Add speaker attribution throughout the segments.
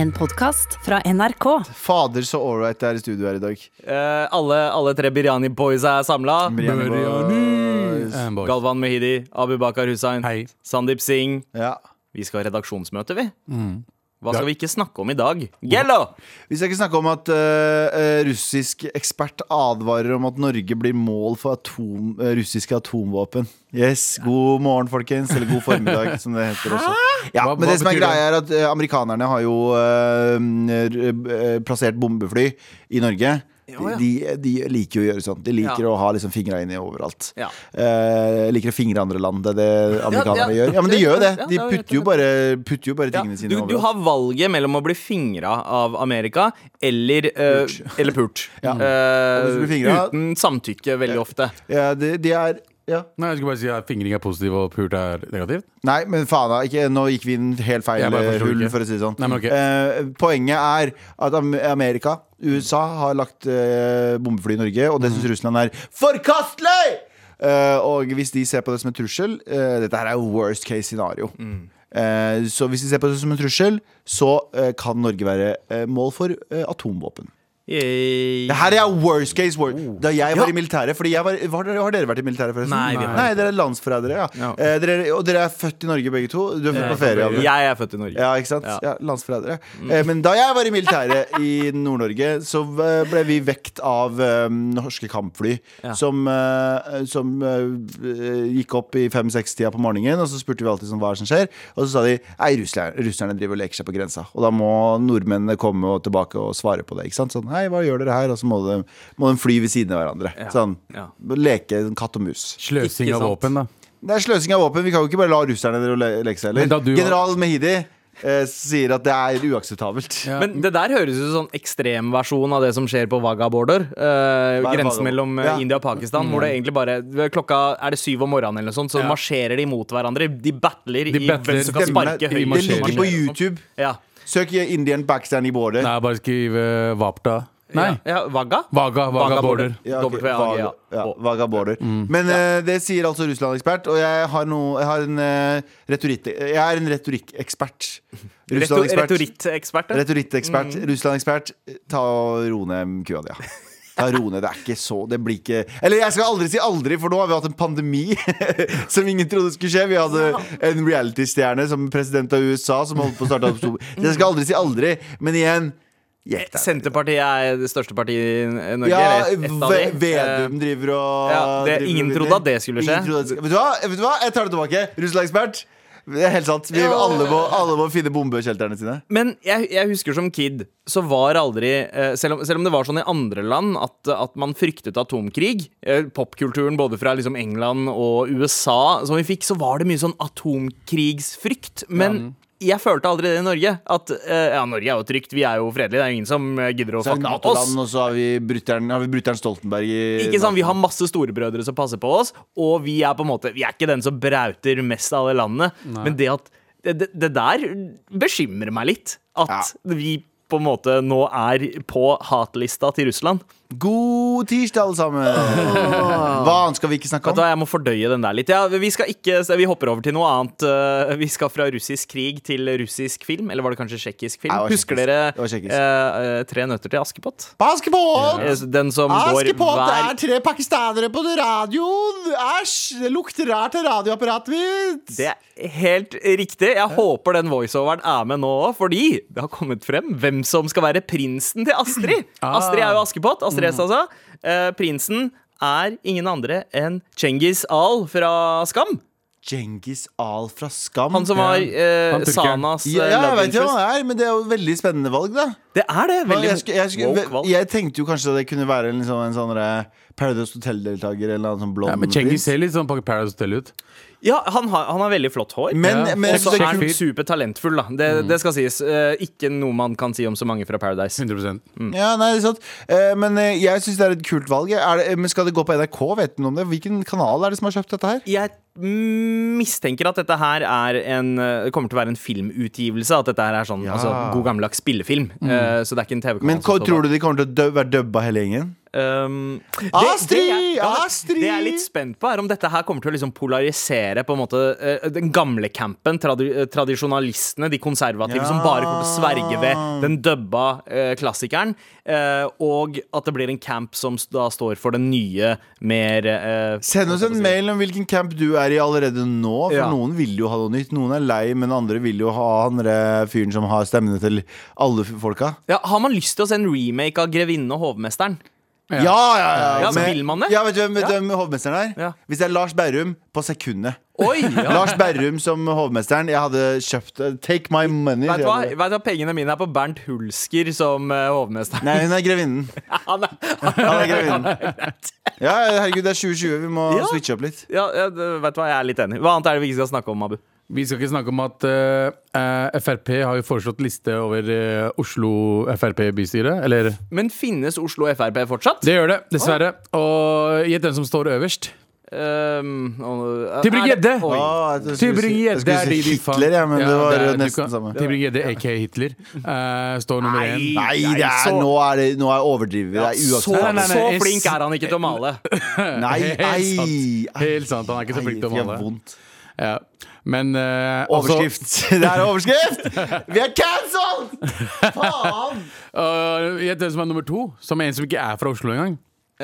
Speaker 1: En podkast fra NRK.
Speaker 2: Fader, så ålreit det er i studio her i dag.
Speaker 3: Eh, alle, alle tre Biryani Boys er samla.
Speaker 2: Biryani Boys.
Speaker 4: And Eh, boys.
Speaker 3: Galvan Mehidi, Abu Bakar Hussein,
Speaker 4: Hei.
Speaker 3: Sandeep Singh.
Speaker 2: Ja.
Speaker 3: Vi skal ha redaksjonsmøte, vi.
Speaker 2: Mm.
Speaker 3: Hva skal vi ikke snakke om i dag? Gello!
Speaker 2: Vi skal ikke snakke om at eh, eh, russisk ekspert advarer om at Norge blir mål for atom, eh, russiske atomvåpen. Yes, God morgen, folkens. Eller god formiddag, som det heter også. Ja,
Speaker 4: Hva-
Speaker 2: men
Speaker 4: hva
Speaker 2: det som er
Speaker 4: betyr
Speaker 2: greia er at eh, Amerikanerne har jo eh, r- eh, plassert bombefly i Norge. De, de liker jo å gjøre sånt. De liker
Speaker 3: Ja.
Speaker 2: å ha liksom fingra inni overalt.
Speaker 3: Ja.
Speaker 2: Eh, liker å fingre andre land, det er det amerikanerne
Speaker 3: ja.
Speaker 2: gjør. Ja, men de gjør jo det.
Speaker 3: Ja,
Speaker 2: De
Speaker 3: ja, rett og
Speaker 2: putter jo
Speaker 3: slett.
Speaker 2: bare, putter jo bare
Speaker 3: Ja,
Speaker 2: tingene sine
Speaker 3: du, du
Speaker 2: overalt.
Speaker 3: har valget mellom å bli fingra av Amerika eller eh, eller pult. Eh,
Speaker 2: Og hvis du blir fingret-
Speaker 3: uten samtykke, veldig ofte.
Speaker 2: Ja, de, de er ja.
Speaker 4: Nei, jeg skulle bare si at fingring er positiv og pult er negativt.
Speaker 2: Nei, men faen da, ikke, nå gikk vi inn helt feil
Speaker 4: Jeg bare
Speaker 2: eh,
Speaker 4: forstår
Speaker 2: hull,
Speaker 4: ikke.
Speaker 2: for å si det sånn.
Speaker 4: Nei, men ok.
Speaker 2: Eh, poenget er at Am- Amerika, USA, har lagt eh, bombefly i Norge, og det
Speaker 4: Mm.
Speaker 2: syns Russland er forkastelig! Eh, og hvis de ser på det som en trussel eh, Dette her er jo worst case scenario.
Speaker 4: Mm.
Speaker 2: Eh, så hvis de ser på det som en trussel, så eh, kan Norge være eh, mål for eh, atomvåpen.
Speaker 3: Yay.
Speaker 2: Det her er worst case word. Da jeg var i militæret Fordi jeg var, var dere, Har dere vært i militæret, forresten?
Speaker 3: Oh. Nei, vi har
Speaker 2: Nei dere er landsforrædere. Ja. Eh, dere, og dere er født i Norge, begge to. Du er født på ferie. Abu.
Speaker 3: Jeg er født i Norge.
Speaker 2: Ja, ikke sant?
Speaker 3: Ja.
Speaker 2: Ja, Landsforrædere. Eh, men da jeg var i militæret i Nord-Norge, så eh, ble vi vekt av eh, norske kampfly
Speaker 3: Ja.
Speaker 2: som, eh, som eh, gikk opp i fem-seks-tida på morgenen, og så spurte vi alltid sånn, hva er det som skjer, og så sa de nei, russerne, russerne driver og leker seg på grensa, og da må nordmennene komme og tilbake og svare på det, ikke sant? Sånn, hei, hva gjør dere her? Og så må de, må de fly ved siden av hverandre. Sånn,
Speaker 3: Ja.
Speaker 2: leke katt og mus.
Speaker 4: Sløsing
Speaker 3: Ikke
Speaker 4: av
Speaker 3: sant.
Speaker 4: våpen, da.
Speaker 2: Det er sløsing av våpen. Vi kan jo ikke bare la russerne drive og le- leke seg
Speaker 4: Men
Speaker 2: heller.
Speaker 4: da du-
Speaker 2: General Mehidi eh, sier at det er uakseptabelt.
Speaker 4: Ja.
Speaker 3: Men det der høres ut som sånn ekstremversjon av det som skjer på Vaga border. eh,
Speaker 2: Hva er Wagha?
Speaker 3: grensen mellom eh,
Speaker 2: Ja.
Speaker 3: India og Pakistan. Hvor det egentlig bare ved Klokka er det syv om morgenen, eller noe sånt, så
Speaker 4: Mm. Ja. marsjerer
Speaker 3: marsjerer de mot hverandre. De battler
Speaker 4: De
Speaker 3: i
Speaker 4: battler.
Speaker 3: hvem som kan
Speaker 2: Stemmer
Speaker 3: sparke
Speaker 2: det.
Speaker 4: De
Speaker 3: høyest.
Speaker 2: Det ligger på
Speaker 4: marsjerer.
Speaker 2: YouTube.
Speaker 3: Ja.
Speaker 2: Søk i Indian Pakistan i border.
Speaker 4: Nei, bare skriv eh, Vapta. Nei.
Speaker 3: Ja, ja, Vaga?
Speaker 4: Vaga, Vaga border.
Speaker 2: Ja, ok.
Speaker 3: WAGA,
Speaker 2: Vaga- ja,
Speaker 3: Og-
Speaker 2: Vaga border.
Speaker 4: Mm.
Speaker 2: Men eh, det sier altså Russland-ekspert, og jeg har, noe- jeg har en eh, retoritt... Jeg er en retorikkekspert.
Speaker 3: Retor-
Speaker 2: Russland-ekspert.
Speaker 3: Retorikkekspert. ja.
Speaker 2: Retorikkekspert. Russland-ekspert. Ta og ro ned kua di, ja. Ta ro ned, Det er ikke så Det blir ikke Eller jeg skal aldri si aldri, for nå har vi hatt en pandemi som ingen trodde skulle skje. Vi hadde en reality-stjerne som president av USA som holdt på å starte opp Så jeg skal aldri si aldri, men igjen gjett deg.
Speaker 3: Senterpartiet er det største partiet i Norge.
Speaker 2: Ja,
Speaker 3: eller et av de.
Speaker 2: Ve- Vedum driver og
Speaker 3: ja, det-
Speaker 2: driver
Speaker 3: ingen
Speaker 2: og
Speaker 3: trodde
Speaker 2: vinner.
Speaker 3: at det skulle skje.
Speaker 2: Ingen trodde at det sk- Vet du hva? Vet du hva? Jeg tar det tilbake. Russland-ekspert. Det er helt sant. Vi, alle, må, alle må finne bombekjelterne sine.
Speaker 3: Men jeg, jeg husker som kid, så var aldri eh, selv, om, selv om det var sånn i andre land at, at man fryktet atomkrig eh, Popkulturen både fra liksom England og USA som vi fikk, så var det mye sånn atomkrigsfrykt. Men jeg følte aldri det i Norge. At eh, ja, Norge er jo trygt, vi er jo fredelige. Det er jo ingen som eh, gidder å
Speaker 2: Så er vi
Speaker 3: fucke med oss.
Speaker 2: NATO-land, og så har vi brutter'n har vi brutter'n Stoltenberg i
Speaker 3: Ikke sant, Vi har masse storebrødre som passer på oss, og vi er på en måte Vi er ikke den som brauter mest av alle landene. Men det at det, det- det der bekymrer meg litt. At vi på en måte nå er på hatlista til Russland.
Speaker 2: God tirsdag, alle sammen! Hva annet skal vi ikke snakke
Speaker 3: Vet du
Speaker 2: om?
Speaker 3: hva, Jeg må fordøye den der litt. Ja, vi, skal ikke, så vi hopper over til noe annet. Eh, Vi skal fra russisk krig til russisk film. Eller var det kanskje tsjekkisk film?
Speaker 2: Nei, det var
Speaker 3: Husker
Speaker 2: tsjekkisk.
Speaker 3: dere
Speaker 2: Det var tsjekkisk.
Speaker 3: eh, eh, Tre nøtter til Askepott?
Speaker 2: Baskepott!
Speaker 3: Eh, Den som går
Speaker 2: Askepott, det
Speaker 3: hver
Speaker 2: er tre pakistanere på radioen! Æsj! Det lukter rart av radioapparatet mitt!
Speaker 3: Det er helt riktig. Jeg håper den voiceoveren er med nå òg, fordi det har kommet frem hvem som skal være prinsen til Astrid.
Speaker 4: Ah. Mm.
Speaker 3: Astrid er jo Askepott. Astrid S, altså. Eh, prinsen er ingen andre enn Cengiz Al fra Skam.
Speaker 2: Djengis Al fra Skam.
Speaker 3: Han som var
Speaker 4: Ja.
Speaker 3: eh,
Speaker 4: Han turker.
Speaker 3: Sanas eh,
Speaker 2: ja, ja, jeg vet jo
Speaker 3: love
Speaker 2: hva
Speaker 3: interest.
Speaker 2: han er, men det er jo et veldig spennende valg, da.
Speaker 3: Det er det. Veldig
Speaker 2: jeg, skulle, jeg, skulle,
Speaker 3: woke valg.
Speaker 2: jeg tenkte jo kanskje det kunne være en, liksom, en sånn derre Paradise Hotel-deltaker eller en sånn blond
Speaker 4: Ja, men Cengiz
Speaker 2: prins.
Speaker 4: ser litt sånn på Paradise Hotel ut.
Speaker 3: Ja, han har, han har veldig flott hår.
Speaker 2: Men,
Speaker 4: Ja.
Speaker 2: men
Speaker 3: og så
Speaker 2: det,
Speaker 3: er han
Speaker 4: fyr. Mm.
Speaker 3: supertalentfull, da. Det, det skal sies. Eh, ikke noe man kan si om så mange fra Paradise.
Speaker 4: 100
Speaker 2: Ja, nei, det er sant. Eh, men eh, jeg syns det er et kult valg. jeg. Er det, eh, men skal det gå på NRK? Vet du noe om det? Hvilken kanal er det som har kjøpt dette her?
Speaker 3: Jeg mistenker at dette her er en, eh, kommer til å være en filmutgivelse. At dette her er
Speaker 2: Mm.
Speaker 3: sånn altså, god gammeldags spillefilm. Eh, så det er ikke en TV-kanal.
Speaker 2: Men hva, tror du de kommer til å dø, være dubba hele gjengen?
Speaker 3: Um, det-
Speaker 2: Ah, Astrid! Ah,
Speaker 3: det jeg- ja, men
Speaker 2: Astrid!
Speaker 3: Det jeg er litt spent på, er om dette her kommer til å liksom polarisere på en måte eh, den gamle campen, tradi eh, tradisjonalistene, de konservative som bare kommer til å sverge ved den dubba eh, klassikeren, eh, og at det blir en camp som s- da står for den nye, mer eh,
Speaker 2: Send oss en mail om hvilken camp du er i allerede nå. For
Speaker 3: Ja.
Speaker 2: noen vil jo ha noe nytt. Noen er lei, men andre vil jo ha han der fyren som har stemmene til alle f- folka.
Speaker 3: ja, Har man lyst til å se en remake av 'Grevinnen og hovmesteren'?
Speaker 2: Ja, ja, ja.
Speaker 3: Ja, så
Speaker 2: Med-
Speaker 3: vil man det?
Speaker 2: Ja, vet du hvem, vet du
Speaker 3: Ja.
Speaker 2: hvem hovmesteren er?
Speaker 3: Ja.
Speaker 2: Hvis det er Lars Berrum på sekundet.
Speaker 3: Oi! Ja.
Speaker 2: Lars Berrum som hovmesteren. Jeg hadde kjøpt eh, Take my money.
Speaker 3: Vet du hva?
Speaker 2: sier jeg.
Speaker 3: Vet du hva? Pengene mine er på Bernt Hulsker som eh, hovmester.
Speaker 2: Nei, hun er grevinnen.
Speaker 3: Han er,
Speaker 2: Han er grevinnen. Ja, herregud, det er 2020. Vi må
Speaker 3: Ja.
Speaker 2: switche opp litt.
Speaker 3: ja, ja, det- vet du hva, jeg er litt enig. Hva annet er det vi ikke skal snakke om, Abu?
Speaker 4: Vi skal ikke snakke om at eh, eh, Frp har jo foreslått liste over eh, Oslo Frp-bystyre. Eller
Speaker 3: Men finnes Oslo Frp fortsatt?
Speaker 4: Det gjør det, dessverre. Og gjett hvem som står øverst.
Speaker 3: Ehm, og-
Speaker 4: Tybring-Gjedde!
Speaker 3: Oi.
Speaker 2: Å, jeg skulle si- jeg
Speaker 4: Tybring-Gjedde
Speaker 2: skulle
Speaker 4: er de
Speaker 2: si
Speaker 4: de faen-
Speaker 2: Hitler, ja, men det var
Speaker 4: er-
Speaker 2: jo
Speaker 4: du
Speaker 2: nesten
Speaker 4: kan-
Speaker 2: samme.
Speaker 4: Tybring-Gjedde, aka Hitler, eh, står nummer
Speaker 3: Nei.
Speaker 4: én.
Speaker 2: Nei, det er,
Speaker 3: så-
Speaker 2: nå, er det, nå er overdriver vi. Det er uakseptabelt.
Speaker 3: Så,
Speaker 4: Nei, sånn. nei, nei,
Speaker 3: så
Speaker 4: jeg-
Speaker 3: flink er han ikke til å male.
Speaker 2: Nei,
Speaker 4: Helt
Speaker 2: ei,
Speaker 4: sant.
Speaker 2: ei,
Speaker 4: Helt sant, han er ikke så
Speaker 2: ei,
Speaker 4: flink til å
Speaker 2: det gjør
Speaker 4: male.
Speaker 2: vondt.
Speaker 4: Ja. Men eh,
Speaker 2: Overskrift. det er overskrift! Vi er cancelled! Faen!
Speaker 4: altså, øh, Gjett hvem som er nummer to, som er en som ikke er fra Oslo engang.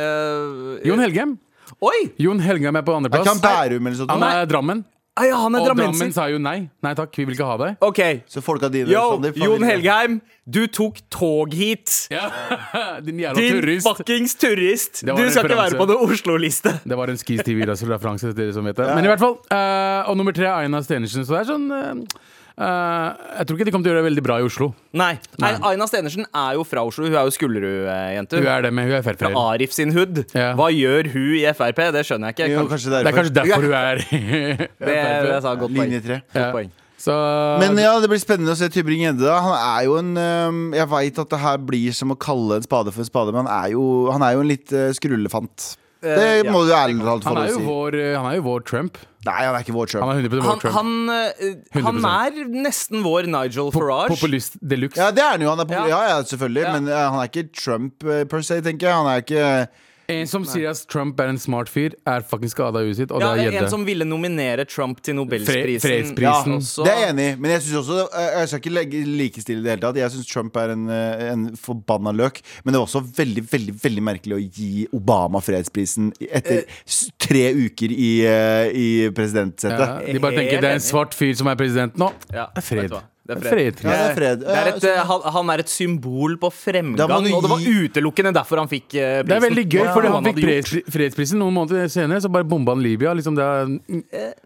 Speaker 3: Eh,
Speaker 4: Jon Helgem.
Speaker 3: Oi!
Speaker 4: Jon Helgem er på
Speaker 2: Er ikke han
Speaker 4: andreplass.
Speaker 2: Bærum eller sånt?
Speaker 4: Han
Speaker 2: nå?
Speaker 4: er Drammen.
Speaker 3: Ah, ja, han er
Speaker 4: Og Drammen
Speaker 3: drammenser.
Speaker 4: sa jo nei. Nei takk, vi vil ikke ha deg.
Speaker 3: OK.
Speaker 2: Så folka dine
Speaker 3: Yo,
Speaker 2: Sandeep, faen,
Speaker 3: Jon
Speaker 2: vil-
Speaker 3: Helgheim, du tok tog hit.
Speaker 4: Din jævla
Speaker 3: Din
Speaker 4: turist.
Speaker 3: fuckings turist.
Speaker 4: Det var en
Speaker 3: Du skal ikke
Speaker 4: referanse.
Speaker 3: være på noen Oslo-liste.
Speaker 4: Det var en Skis TV-referanse til dere som vet det. Men i hvert fall. eh, og nummer tre er Aina Stenersen. Så det er sånn eh, eh, Jeg tror ikke de kommer til å gjøre det veldig bra i Oslo.
Speaker 3: Nei. Nei. Aina Stenersen er jo fra Oslo. Hun er jo Skullerud-jente.
Speaker 4: Hun er det, men hun er
Speaker 3: fra
Speaker 4: Frp-er.
Speaker 3: Arif sin hood.
Speaker 4: Ja.
Speaker 3: Hva gjør hun i Frp? Det skjønner jeg ikke.
Speaker 2: Jo,
Speaker 3: Kan-
Speaker 2: kanskje
Speaker 4: Det er
Speaker 2: derfor.
Speaker 4: kanskje derfor hun er
Speaker 3: det, det
Speaker 4: Frp.
Speaker 3: sa godt poeng.
Speaker 2: Linje tre.
Speaker 3: Godt
Speaker 4: Ja.
Speaker 3: poeng.
Speaker 4: Så
Speaker 2: Men eh, ja, det blir spennende å se Tybring-Gjedde. da. Han er jo en øhm, Jeg veit at det her blir som å kalle en spade for en spade, men han er jo, han er jo en litt øh, skrullefant.
Speaker 3: Eh,
Speaker 2: Det
Speaker 3: ja.
Speaker 2: må du ærlig talt få
Speaker 4: han,
Speaker 2: lov
Speaker 4: er
Speaker 2: å
Speaker 4: jo
Speaker 2: si.
Speaker 4: vår, eh, han er jo vår Trump.
Speaker 2: Nei, han er ikke vår
Speaker 4: Han
Speaker 2: Trump.
Speaker 4: er 100 vår
Speaker 3: Han,
Speaker 4: Trump.
Speaker 3: han, eh, han
Speaker 4: 100%.
Speaker 3: er nesten vår Nigel Farage.
Speaker 4: Populist de luxe.
Speaker 2: Ja, det er han jo. Han er
Speaker 3: Ja.
Speaker 2: populær, ja, ja, selvfølgelig.
Speaker 3: Ja.
Speaker 2: Men øh, han er ikke Trump øh, per se, tenker jeg. Han er ikke
Speaker 4: En som sier at Trump er en smart fyr, er fucking skada i huet sitt, og
Speaker 3: ja,
Speaker 4: det er
Speaker 3: en
Speaker 4: Gjedde.
Speaker 3: som ville nominere Trump til Nobelsprisen.
Speaker 4: Fre- fredsprisen.
Speaker 3: også.
Speaker 2: Det er jeg enig i, men jeg synes også øh, Jeg skal ikke legge likestille i det hele tatt. Jeg syns Trump er en, øh, en forbanna løk. Men det var også veldig veldig, veldig merkelig å gi Obama fredsprisen etter s- tre uker i, øh, i presidentsetet.
Speaker 4: Ja, de bare tenker det er en svart fyr som er president nå.
Speaker 3: Ja,
Speaker 4: Det er fred.
Speaker 3: vet du hva? Det er
Speaker 4: Det er
Speaker 3: fred.
Speaker 4: fred.
Speaker 2: Ja, det er fred.
Speaker 3: Det er et,
Speaker 2: Ja, altså-
Speaker 3: eh, han, han er et symbol
Speaker 2: Da
Speaker 3: på fremgang,
Speaker 2: må du
Speaker 3: og det var
Speaker 2: gi-
Speaker 3: utelukkende derfor han fikk eh, prisen.
Speaker 4: Det er veldig gøy,
Speaker 3: Hva
Speaker 4: fordi
Speaker 3: faen
Speaker 4: han fikk
Speaker 3: hadde gjort?
Speaker 4: fredspri- fredsprisen noen måneder senere, så bare bomba han Libya. Liksom det er,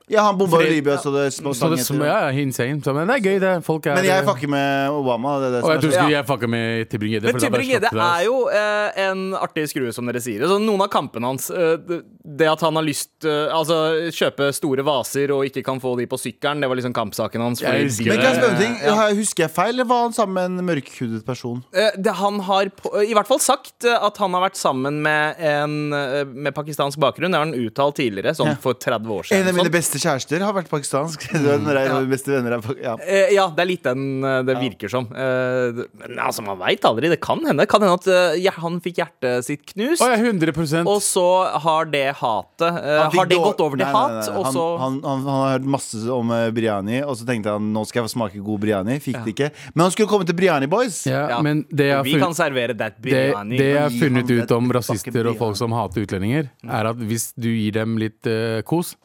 Speaker 2: Ja, han bomba jo
Speaker 4: Fred-
Speaker 2: Libya, så det små
Speaker 4: så
Speaker 2: sang
Speaker 4: det, som,
Speaker 2: etter.
Speaker 4: ja, ja, insane. Så, men det er gøy, det. Folk er
Speaker 2: Men jeg fucker med Obama. Det er det
Speaker 4: Og jeg
Speaker 2: som
Speaker 4: tror
Speaker 2: er så-
Speaker 4: ikke jeg fucka med Tybring-Gjedde.
Speaker 3: Men
Speaker 4: for da bare
Speaker 3: Tybring-Gjedde
Speaker 4: slapp det, ass.
Speaker 3: er jo eh, en artig skrue, som dere sier. Så noen av kampene hans eh, det- Det at han har lyst eh, Altså, kjøpe store vaser og ikke kan få de på sykkelen, det var liksom kampsaken hans.
Speaker 4: Jeg
Speaker 3: fordi-
Speaker 4: husker
Speaker 2: men kan jeg spørre om en ting?
Speaker 3: Ja.
Speaker 2: Har- Husker jeg feil, eller var han sammen med en mørkhudet person?
Speaker 3: Eh, det, han har på, i hvert fall sagt eh, at han har vært sammen med en eh, med pakistansk bakgrunn. Det har han uttalt tidligere, sånn for 30 år
Speaker 2: En
Speaker 3: siden.
Speaker 2: av mine
Speaker 3: sånn.
Speaker 2: beste kjærester har vært pakistansk. Du vet, når jeg er beste venner er pak- ja.
Speaker 3: Eh, ja, det er litt den eh, det virker som. Eh, det- men altså, man veit aldri. Det kan hende. Kan hende at eh, hjer- han fikk hjertet sitt knust.
Speaker 4: Å ja, 100
Speaker 3: Og så har det hatet eh,
Speaker 2: Han fikk
Speaker 3: Har det
Speaker 2: dår-
Speaker 3: gått over til
Speaker 2: Nei, nei, nei,
Speaker 3: hat,
Speaker 2: nei.
Speaker 3: og
Speaker 2: han,
Speaker 3: så
Speaker 2: han, han, han har hørt masse om eh, biryani, og så tenkte han nå skal jeg få smake god biryani. Fikk det ikke. Men han skulle komme til Biryani Boys.
Speaker 4: ja,
Speaker 3: Ja.
Speaker 4: Men det jeg
Speaker 3: Og
Speaker 4: har
Speaker 3: Vi kan
Speaker 4: funnet,
Speaker 3: servere that
Speaker 4: det,
Speaker 3: biryani.
Speaker 4: det jeg har
Speaker 2: gi ham
Speaker 4: funnet
Speaker 2: et
Speaker 4: ut om
Speaker 2: pakke
Speaker 4: rasister og folk som hater utlendinger, er at hvis du gir dem litt eh, kos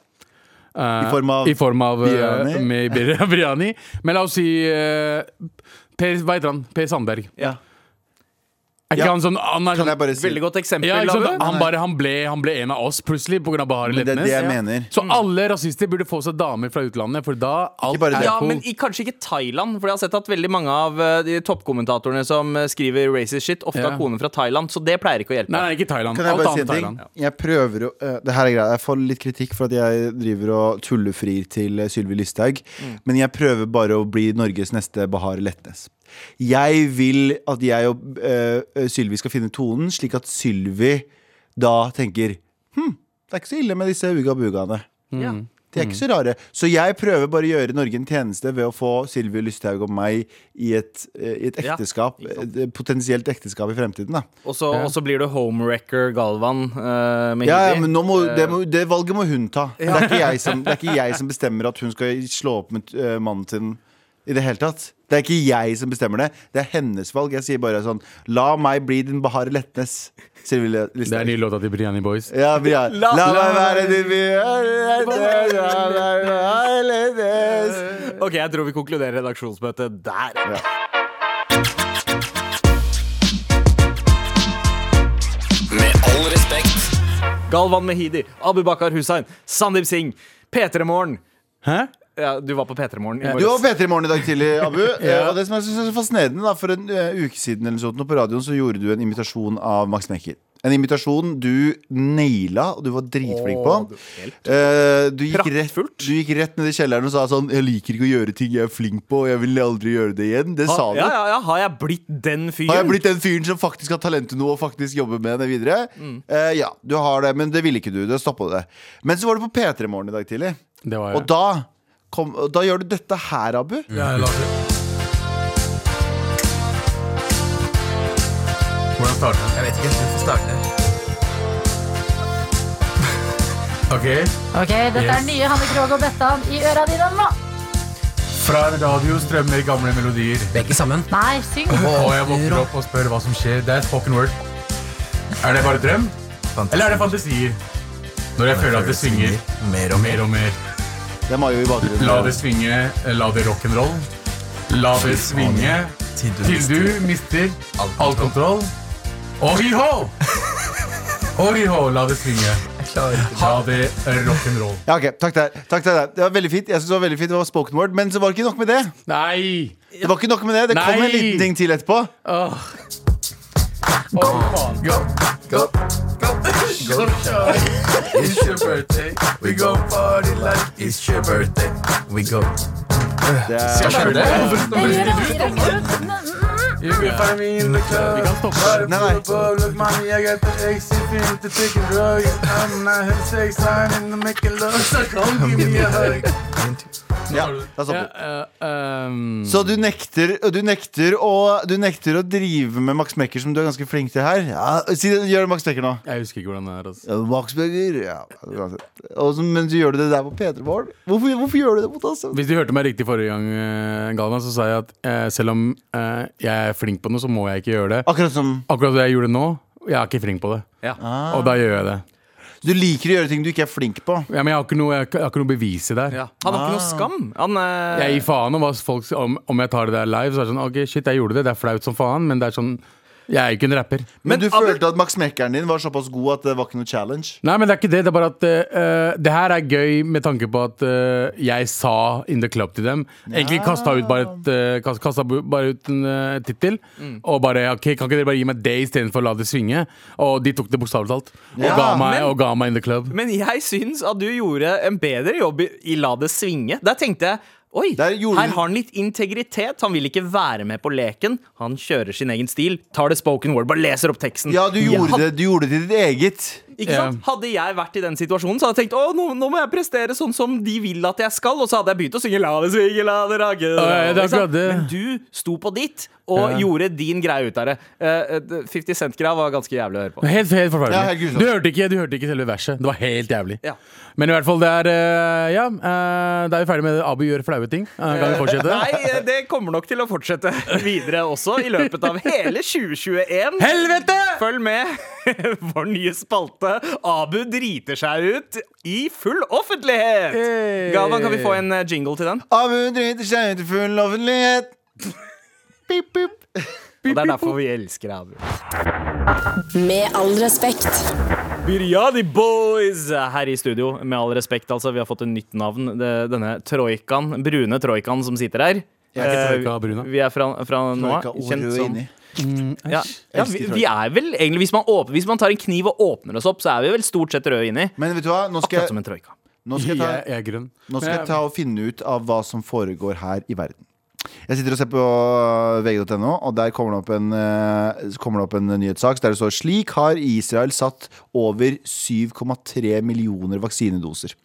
Speaker 4: eh,
Speaker 2: I form av
Speaker 4: I form av eh,
Speaker 2: biryani?
Speaker 4: med bir- biryani. Men la oss si eh, Per, hva heter han? Per Sandberg.
Speaker 2: Ja.
Speaker 4: Er ikke
Speaker 2: Ja.
Speaker 4: han sånn Han er
Speaker 2: Kan
Speaker 4: sånn
Speaker 2: jeg bare si
Speaker 3: Veldig godt eksempel.
Speaker 4: ja, ikke sant?
Speaker 3: Abu.
Speaker 4: Han, bare, han, ble, han ble en av oss plutselig pga. Bahari
Speaker 2: Men det er
Speaker 4: Letnes.
Speaker 2: det jeg
Speaker 4: Ja.
Speaker 2: mener.
Speaker 4: Så alle rasister burde få seg damer fra utlandet, for da alt
Speaker 2: Ikke bare det.
Speaker 3: Ja,
Speaker 4: cool.
Speaker 3: men i, kanskje ikke Thailand. For jeg har sett at veldig mange av eh, de toppkommentatorene som eh, skriver racist shit, ofte
Speaker 4: Ja.
Speaker 3: har koner fra Thailand, så det pleier ikke å hjelpe.
Speaker 4: Nei, nei, ikke Thailand.
Speaker 2: Kan jeg
Speaker 4: Alt
Speaker 2: bare si
Speaker 4: annet
Speaker 2: en ting?
Speaker 4: Thailand.
Speaker 2: Jeg prøver å eh, Det her er greia. Jeg får litt kritikk for at jeg driver og tullefrir til eh, Sylvi Listhaug. Men jeg prøver bare å bli Norges neste Bahar Letnes. Jeg vil at jeg og eh, Sylvi skal finne tonen, slik at Sylvi da tenker Hm, det er ikke så ille med disse uga-bugaene.
Speaker 4: Mm.
Speaker 3: Ja.
Speaker 2: De er ikke så rare. Så jeg prøver bare å gjøre Norge en tjeneste ved å få Sylvi Lysthaug og meg i et, eh, i et
Speaker 3: Ja,
Speaker 2: ekteskap,
Speaker 3: ikke sant.
Speaker 2: et potensielt ekteskap i fremtiden. da
Speaker 3: Og så og så blir du homewrecker Galvan eh, med
Speaker 2: Ja, ja,
Speaker 3: Hildi.
Speaker 2: men nå må, det,
Speaker 3: Eh,
Speaker 2: må, det valget må hun ta. Det, er ikke jeg som, det er ikke jeg som bestemmer at hun skal slå opp med eh, mannen sin i det hele tatt. Det er ikke jeg som bestemmer det. Det er hennes valg. Jeg sier bare sånn La meg bli din Bahare Letnes. Sylvi
Speaker 4: Det er en
Speaker 2: Listhaug.
Speaker 4: ny låt av de Briani Boys.
Speaker 2: Ja, vi er. La,
Speaker 3: La-
Speaker 2: meg være din Bahare Letnes, la meg være Letnes.
Speaker 3: OK, jeg tror vi konkluderer redaksjonsmøtet der.
Speaker 5: Med all respekt.
Speaker 3: Galvan Mehidi, Abu Bakar Hussein, Sandeep Singh, P3 Morgen.
Speaker 4: Hæ?
Speaker 3: Ja, du var på P3 Morgen i
Speaker 2: Du var
Speaker 3: morges.
Speaker 2: på P3 Morgen i dag tidlig, Abu. Eh, Og det som jeg synes er så fascinerende da, For en eh, uke siden eller sånt, nå på radioen så gjorde du en imitasjon av Max Mekker. En imitasjon du naila, og du var dritflink på. Eh, du, gikk rett,
Speaker 3: Praktfullt.
Speaker 2: du gikk rett ned i kjelleren og sa sånn 'Jeg liker ikke å gjøre ting jeg er flink på, og jeg vil aldri gjøre det igjen'. Det sa
Speaker 3: Ha,
Speaker 2: du.
Speaker 3: Ah, ja, ja, ja, har jeg blitt den fyren?
Speaker 2: Har jeg blitt den fyren som faktisk har talent til noe og faktisk jobber med det videre?
Speaker 3: Mm.
Speaker 2: Eh, ja, du har det, men det ville ikke du. Det stoppa det. Men så var du på P3 Morgen i dag tidlig,
Speaker 4: Det var
Speaker 2: og
Speaker 4: jeg.
Speaker 2: da, kom, og da gjør du dette her, Abu.
Speaker 6: Yeah, I love it. Hvordan starter den? Jeg vet ikke. Du får starte. ok.
Speaker 7: Ok, dette
Speaker 6: Yes.
Speaker 7: er nye Hanne Krogh og Bettan i øra dine nå.
Speaker 6: Fra en radio strømmer gamle melodier.
Speaker 5: Vi er ikke sammen.
Speaker 7: Nei, syng.
Speaker 6: Og jeg våkner opp og spør hva som skjer. Det er spoken word. Er det bare drøm? Eller er det fantasier? Når jeg føler at det synger
Speaker 5: Mer og mer.
Speaker 6: mer og mer.
Speaker 2: Det er Mayo i bakgrunnen.
Speaker 6: La det svinge, la det rock'n'roll. La det svinge
Speaker 5: Til du
Speaker 6: til du mister all kontroll. Ohihå! Ohihå, la det svinge. La det rock'n'roll.
Speaker 2: Ja, ok, takk til deg. Takk til deg. Det var veldig fint. Jeg synes det var veldig fint Det var spoken word, men så var det ikke nok med det.
Speaker 4: Nei!
Speaker 2: Det var ikke nok med det Det kom
Speaker 4: Nei.
Speaker 2: en liten ting til etterpå.
Speaker 4: Åh.
Speaker 6: Go, go, go. It's your birthday. We go party like it's your birthday.
Speaker 5: We go.
Speaker 2: Det er...
Speaker 6: You can find me in the club.
Speaker 4: Vi kan stoppe.
Speaker 6: Bare
Speaker 2: Nei, nei.
Speaker 6: prøv å look, mommy, I got the X, if you need to take a drug. I'm not having sex, I'm in the making love, so come give me a hug.
Speaker 2: Ja, da stopper
Speaker 4: Ja,
Speaker 2: vi.
Speaker 4: eh, ehm,
Speaker 2: Så du nekter, du, nekter å, du nekter å drive med Max Mekker, som du er ganske flink til her. Ja, si det, Gjør Max Mekker nå.
Speaker 4: jeg husker ikke hvordan det er. Altså.
Speaker 2: Ja, Max Mekker, ja uansett. Og så- Men så gjør du det der på P3 Morgen. Hvorfor, hvorfor gjør du det mot oss?
Speaker 4: Hvis du hørte meg riktig forrige gang, eh, Galvan, så sa jeg at eh, selv om eh, jeg er flink på noe, så må jeg ikke gjøre det.
Speaker 2: Akkurat som
Speaker 4: Akkurat det jeg gjorde nå, jeg er ikke flink på det.
Speaker 3: Ja.
Speaker 4: Og da gjør jeg det.
Speaker 2: Du liker å gjøre ting du ikke er flink på.
Speaker 4: Ja, men jeg har ikke noe, jeg har ikke- jeg har ikke noe bevis i det.
Speaker 3: Ja. Han har ikke
Speaker 2: Ah.
Speaker 3: noe skam. Han, eh,
Speaker 4: Jeg gir faen om hva folk sier- om, om jeg tar det der live. Så er det sånn, ok, shit, jeg gjorde det, det er flaut som faen, men det er sånn Jeg er jo ikke en rapper.
Speaker 2: Men,
Speaker 3: Men,
Speaker 2: du
Speaker 3: Abu-
Speaker 2: følte at Max Mekkeren din var såpass god at det var ikke noe challenge?
Speaker 4: Nei, men det er ikke det. Det er bare at eh, det her er gøy med tanke på at eh, jeg sa In The Club til dem. Egentlig kasta ut bare, et, eh, kast- kastet bu- bare ut en uh, tittel. Og bare ok, kan ikke dere bare gi meg det istedenfor å la det svinge? Og de tok det bokstavelig talt. Og,
Speaker 2: Ja,
Speaker 4: ga meg,
Speaker 3: men-
Speaker 4: og ga meg In The Club.
Speaker 3: Men jeg syns at du gjorde en bedre jobb i, i La det svinge. Der tenkte jeg Oi,
Speaker 2: Der gjorde
Speaker 3: her
Speaker 2: du-
Speaker 3: har han litt integritet. Han vil ikke være med på leken. Han kjører sin egen stil. Tar det spoken word, bare leser opp teksten.
Speaker 2: Ja, du gjorde,
Speaker 3: Had-
Speaker 2: Det, du gjorde det til ditt eget.
Speaker 3: Ikke sant? Hadde jeg vært i den situasjonen, så hadde jeg tenkt å, nå, nå må jeg prestere sånn som de vil at jeg skal, og så hadde jeg begynt å synge La det svinge, la det rage.
Speaker 4: ja, det er
Speaker 3: Ikke sant?
Speaker 4: akkurat det.
Speaker 3: Men du sto på ditt, og gjorde din greie ut av det. Eh, eh, 50 Cent-greia var ganske jævlig å høre på.
Speaker 4: Helt, helt
Speaker 2: Ja, helt
Speaker 4: forferdelig.
Speaker 2: grusomt.
Speaker 4: du, hørte ikke, du hørte ikke selve verset. Det var helt jævlig.
Speaker 3: Ja.
Speaker 4: Men i hvert fall, det er eh, Ja, eh, da er vi ferdig med det. Abu gjør flaue ting. Eh, kan vi fortsette?
Speaker 3: Nei, eh, det kommer nok til å fortsette videre også i løpet av hele 2021.
Speaker 4: Helvete!
Speaker 3: Følg med. Vår nye spalte Abu driter seg ut i full offentlighet.
Speaker 4: Hey.
Speaker 3: Galvan, kan vi få en eh, jingle til den?
Speaker 2: Abu driter seg ut i full offentlighet. Pip, pip.
Speaker 3: Og det er derfor vi elsker deg, Abu.
Speaker 8: Med all respekt.
Speaker 3: Biryani Boys her i studio. Med all respekt, altså. Vi har fått et nytt navn. Det- Denne troikaen, brune troikaen som sitter her.
Speaker 2: er ikke
Speaker 3: Eh,
Speaker 4: troika, brune.
Speaker 3: Vi er fra, fra nå av
Speaker 2: Troika, ordet
Speaker 3: kjent
Speaker 2: og
Speaker 3: som
Speaker 2: inni.
Speaker 3: ja, ja, vi, vi er vel egentlig hvis man, åp- hvis man tar en kniv og åpner oss opp, så er vi vel stort sett røde inni.
Speaker 2: Men vet du hva, nå skal
Speaker 3: Akkurat som
Speaker 2: jeg,
Speaker 3: en troika.
Speaker 2: nå skal jeg,
Speaker 4: Jeg,
Speaker 2: ta,
Speaker 4: jeg er grønn.
Speaker 2: nå skal jeg ta og finne ut av hva som foregår her i verden. Jeg sitter og ser på øh, vg.no, og der kommer det, opp en, eh, kommer det opp en nyhetssak der det står slik har Israel satt over 7,3 millioner vaksinedoser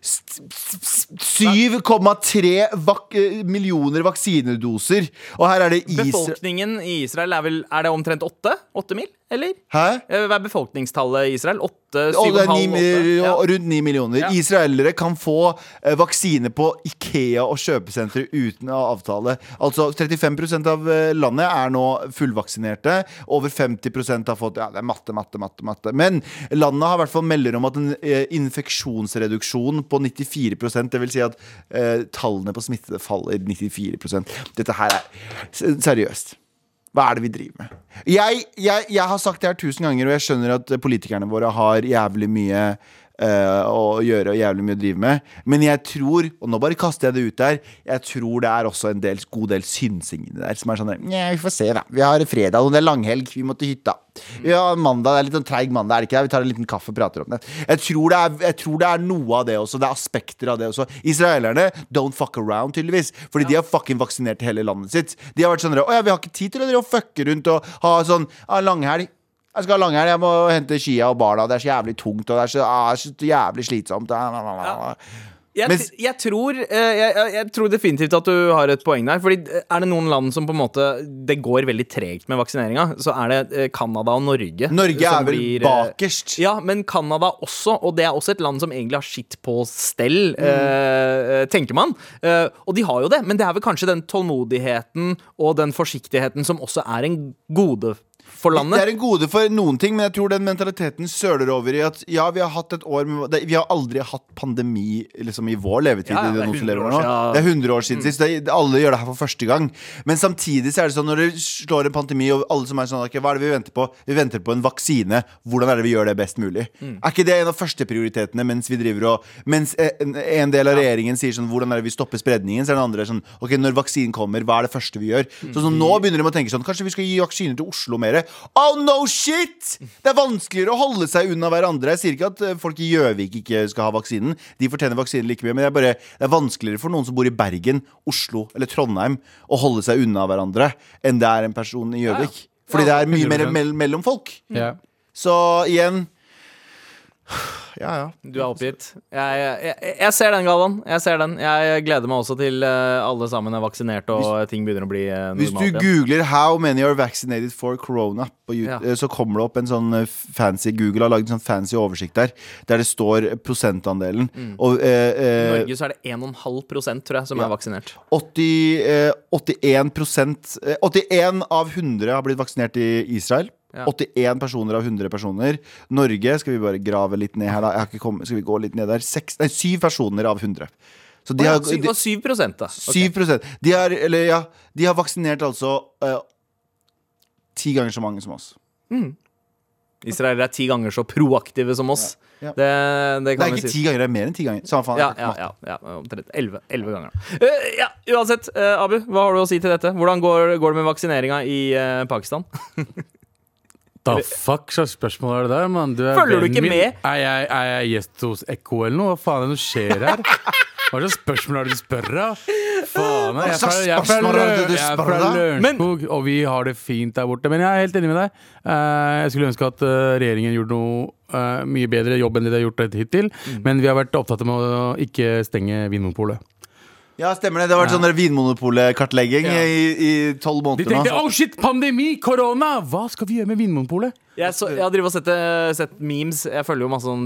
Speaker 2: S- s- s- 7,3 vak eh, millioner vaksinedoser. Og her er det Israel
Speaker 3: Befolkningen i Israel er vel Er det omtrent åtte? Åtte mil, eller?
Speaker 2: Hæ?
Speaker 3: Eh, Hva er befolkningstallet i Israel? Åtte,
Speaker 2: Og
Speaker 3: syv og
Speaker 2: det
Speaker 3: en
Speaker 2: er
Speaker 3: halv,
Speaker 2: ni,
Speaker 3: åtte?
Speaker 2: eh,
Speaker 3: Ja.
Speaker 2: rundt 9 millioner.
Speaker 3: Ja.
Speaker 2: Israelere kan få eh, vaksine på Ikea og kjøpesentre uten avtale. Altså 35 av eh, landet er nå fullvaksinerte. Over 50 har fått Ja, det er matte, matte, matte. matte. Men landet har i hvert fall melder om at en eh, infeksjonsreduksjon på 94 det vil Si at eh, tallene på smittede faller 94 Dette her er s- seriøst. Hva er det vi driver med? Jeg, jeg, jeg har sagt det her tusen ganger, og jeg skjønner at politikerne våre har jævlig mye eh, å gjøre og jævlig mye å drive med. Men jeg tror, og nå bare kaster jeg det ut der, jeg tror det er også en del, god del synsing i det der. Som er sånn der, Nja, vi får se, da. Vi har fredag, og det er langhelg. Vi må til hytta. Ja, mandag. Det er litt sånn treig mandag, er det ikke det? Vi tar en liten kaffe og prater om det. Jeg tror det, er, jeg tror det er noe av det også. Det er aspekter av det også. Israelerne don't fuck around, tydeligvis. Fordi de har fucking vaksinert hele landet sitt. De har vært sånn Å ja, vi har ikke tid til å drive og fucke rundt og ha sånn ah, langhelg. Jeg skal ha langhelg, jeg må hente skia og barna. Det er så jævlig tungt, og det er så, ah, så jævlig slitsomt. Ah, ah, ah, ah.
Speaker 3: Jeg,
Speaker 2: Men-
Speaker 3: tr- jeg, tror, eh, jeg, jeg- jeg tror definitivt at du har et poeng der. Fordi eh, Er det noen land som på en måte det går veldig tregt med vaksineringa, så er det eh, Canada og Norge.
Speaker 2: Norge
Speaker 3: som
Speaker 2: er vel
Speaker 3: blir, eh,
Speaker 2: bakerst.
Speaker 3: Ja, men Canada også, og det er også et land som egentlig har skitt på stell,
Speaker 2: Mm.
Speaker 3: eh, tenker man. Eh, og de har jo det, men det er vel kanskje den tålmodigheten og den forsiktigheten som også er en gode for landet.
Speaker 2: Det er en gode for noen ting, men jeg tror den mentaliteten søler over i at ja, vi har hatt et år med, det, Vi har aldri hatt pandemi liksom, i vår levetid.
Speaker 3: Ja, ja,
Speaker 2: i
Speaker 3: det er
Speaker 2: noen som
Speaker 3: 100
Speaker 2: lever
Speaker 3: år
Speaker 2: nå.
Speaker 3: siden. Mm.
Speaker 2: Det er 100 år siden sist. Det, er- alle gjør det her for første gang. Men samtidig så er det sånn når det slår en pandemi, og alle som er sånn ok, Hva er det vi venter på? Vi venter på en vaksine. Hvordan er det vi gjør det best mulig?
Speaker 3: Mm.
Speaker 2: Er ikke det en av førsteprioritetene mens vi driver og Mens e, en, en del av regjeringen sier sånn Hvordan er det vi stopper spredningen? Så er den andre sånn Ok, når vaksinen kommer, hva er det første vi gjør? Så, sånn, nå begynner de å tenke sånn Kanskje vi skal gi vaksiner til Oslo mer? Oh no shit! Det er vanskeligere å holde seg unna hverandre. Jeg sier ikke at eh, folk i Gjøvik ikke skal ha vaksinen. De fortjener vaksine like mye, men det er, bare, det er vanskeligere for noen som bor i Bergen, Oslo eller Trondheim å holde seg unna hverandre enn det er en person i Gjøvik. Fordi det er mye mer
Speaker 4: 100%.
Speaker 2: mell mellom folk.
Speaker 4: Ja.
Speaker 2: Så igjen Ja, ja.
Speaker 3: Du er oppgitt. Jeg, jeg, jeg, jeg ser den, Galvan. Jeg ser den. Jeg gleder meg også til eh, alle sammen er vaksinert og ting begynner å bli eh,
Speaker 2: Hvis du
Speaker 3: normalt igjen.
Speaker 2: googler 'How many are vaccinated for corona', på YouTube,
Speaker 3: Ja.
Speaker 2: så kommer det opp en sånn eh, fancy Google har laget en sånn fancy oversikt der, der det står prosentandelen. Og
Speaker 3: I
Speaker 2: eh, eh,
Speaker 3: Mm. Norge så er det 1,5 tror jeg, som
Speaker 2: Ja.
Speaker 3: er vaksinert.
Speaker 2: 80, eh, 81 prosent, eh, 81 av 100 har blitt vaksinert i Israel.
Speaker 3: Ja.
Speaker 2: 81 personer av 100 personer. Norge skal vi bare grave litt ned her, da. Jeg har ikke kommet, skal vi gå litt ned der? Seks, nei, syv personer av 100. Så de
Speaker 3: Å ja,
Speaker 2: har,
Speaker 3: sy-
Speaker 2: de,
Speaker 3: Og 7 da. Ok.
Speaker 2: 7 de, har, eller, ja, de har vaksinert altså eh, ti ganger så mange som oss.
Speaker 3: Israelere er ti ganger så proaktive som oss.
Speaker 2: Ja. Ja.
Speaker 3: Det, det
Speaker 2: Det
Speaker 3: kan
Speaker 2: er
Speaker 3: vi
Speaker 2: ikke
Speaker 3: si.
Speaker 2: ti ganger, det er mer enn ti ganger. Samme faen.
Speaker 3: Ja,
Speaker 2: jeg
Speaker 3: ja,
Speaker 2: kan ikke
Speaker 3: ja, ja, omtrent. Elleve elleve ganger. Eh, ja, uansett, eh, Abu, hva har du å si til dette? Hvordan går, går det med vaksineringa i eh, Pakistan?
Speaker 4: Da fuck slags spørsmål er det der, mann? Du er
Speaker 3: Følger du
Speaker 4: vennen
Speaker 3: ikke
Speaker 4: min.
Speaker 3: med?
Speaker 4: Er jeg, er jeg gjest hos Ekko eller noe? Hva faen er det som skjer her? Hva slags spørsmål er det du spør av? Faen, jeg er fra, jeg er fra,
Speaker 2: spørsmål er det du
Speaker 4: Lø- jeg er
Speaker 2: spør
Speaker 4: fra
Speaker 2: av?
Speaker 4: Lørenskog, og vi har det fint der borte. Men jeg er helt enig med deg. Eh, Jeg skulle ønske at eh, regjeringen gjorde noe eh, mye bedre jobb enn det de har gjort hittil. Men vi har vært opptatt med å ikke stenge Vinmonopolet.
Speaker 2: Ja, stemmer det. Det har vært sånn der Vinmonopolet-kartlegging
Speaker 4: Ja.
Speaker 2: i tolv måneder
Speaker 4: De tenkte
Speaker 2: nå. altså.
Speaker 4: oh shit, pandemi, korona! Hva skal vi gjøre med Vinmonopolet?
Speaker 3: Jeg, så, jeg har drivet og sett, eh, sett memes. Jeg følger jo masse sånn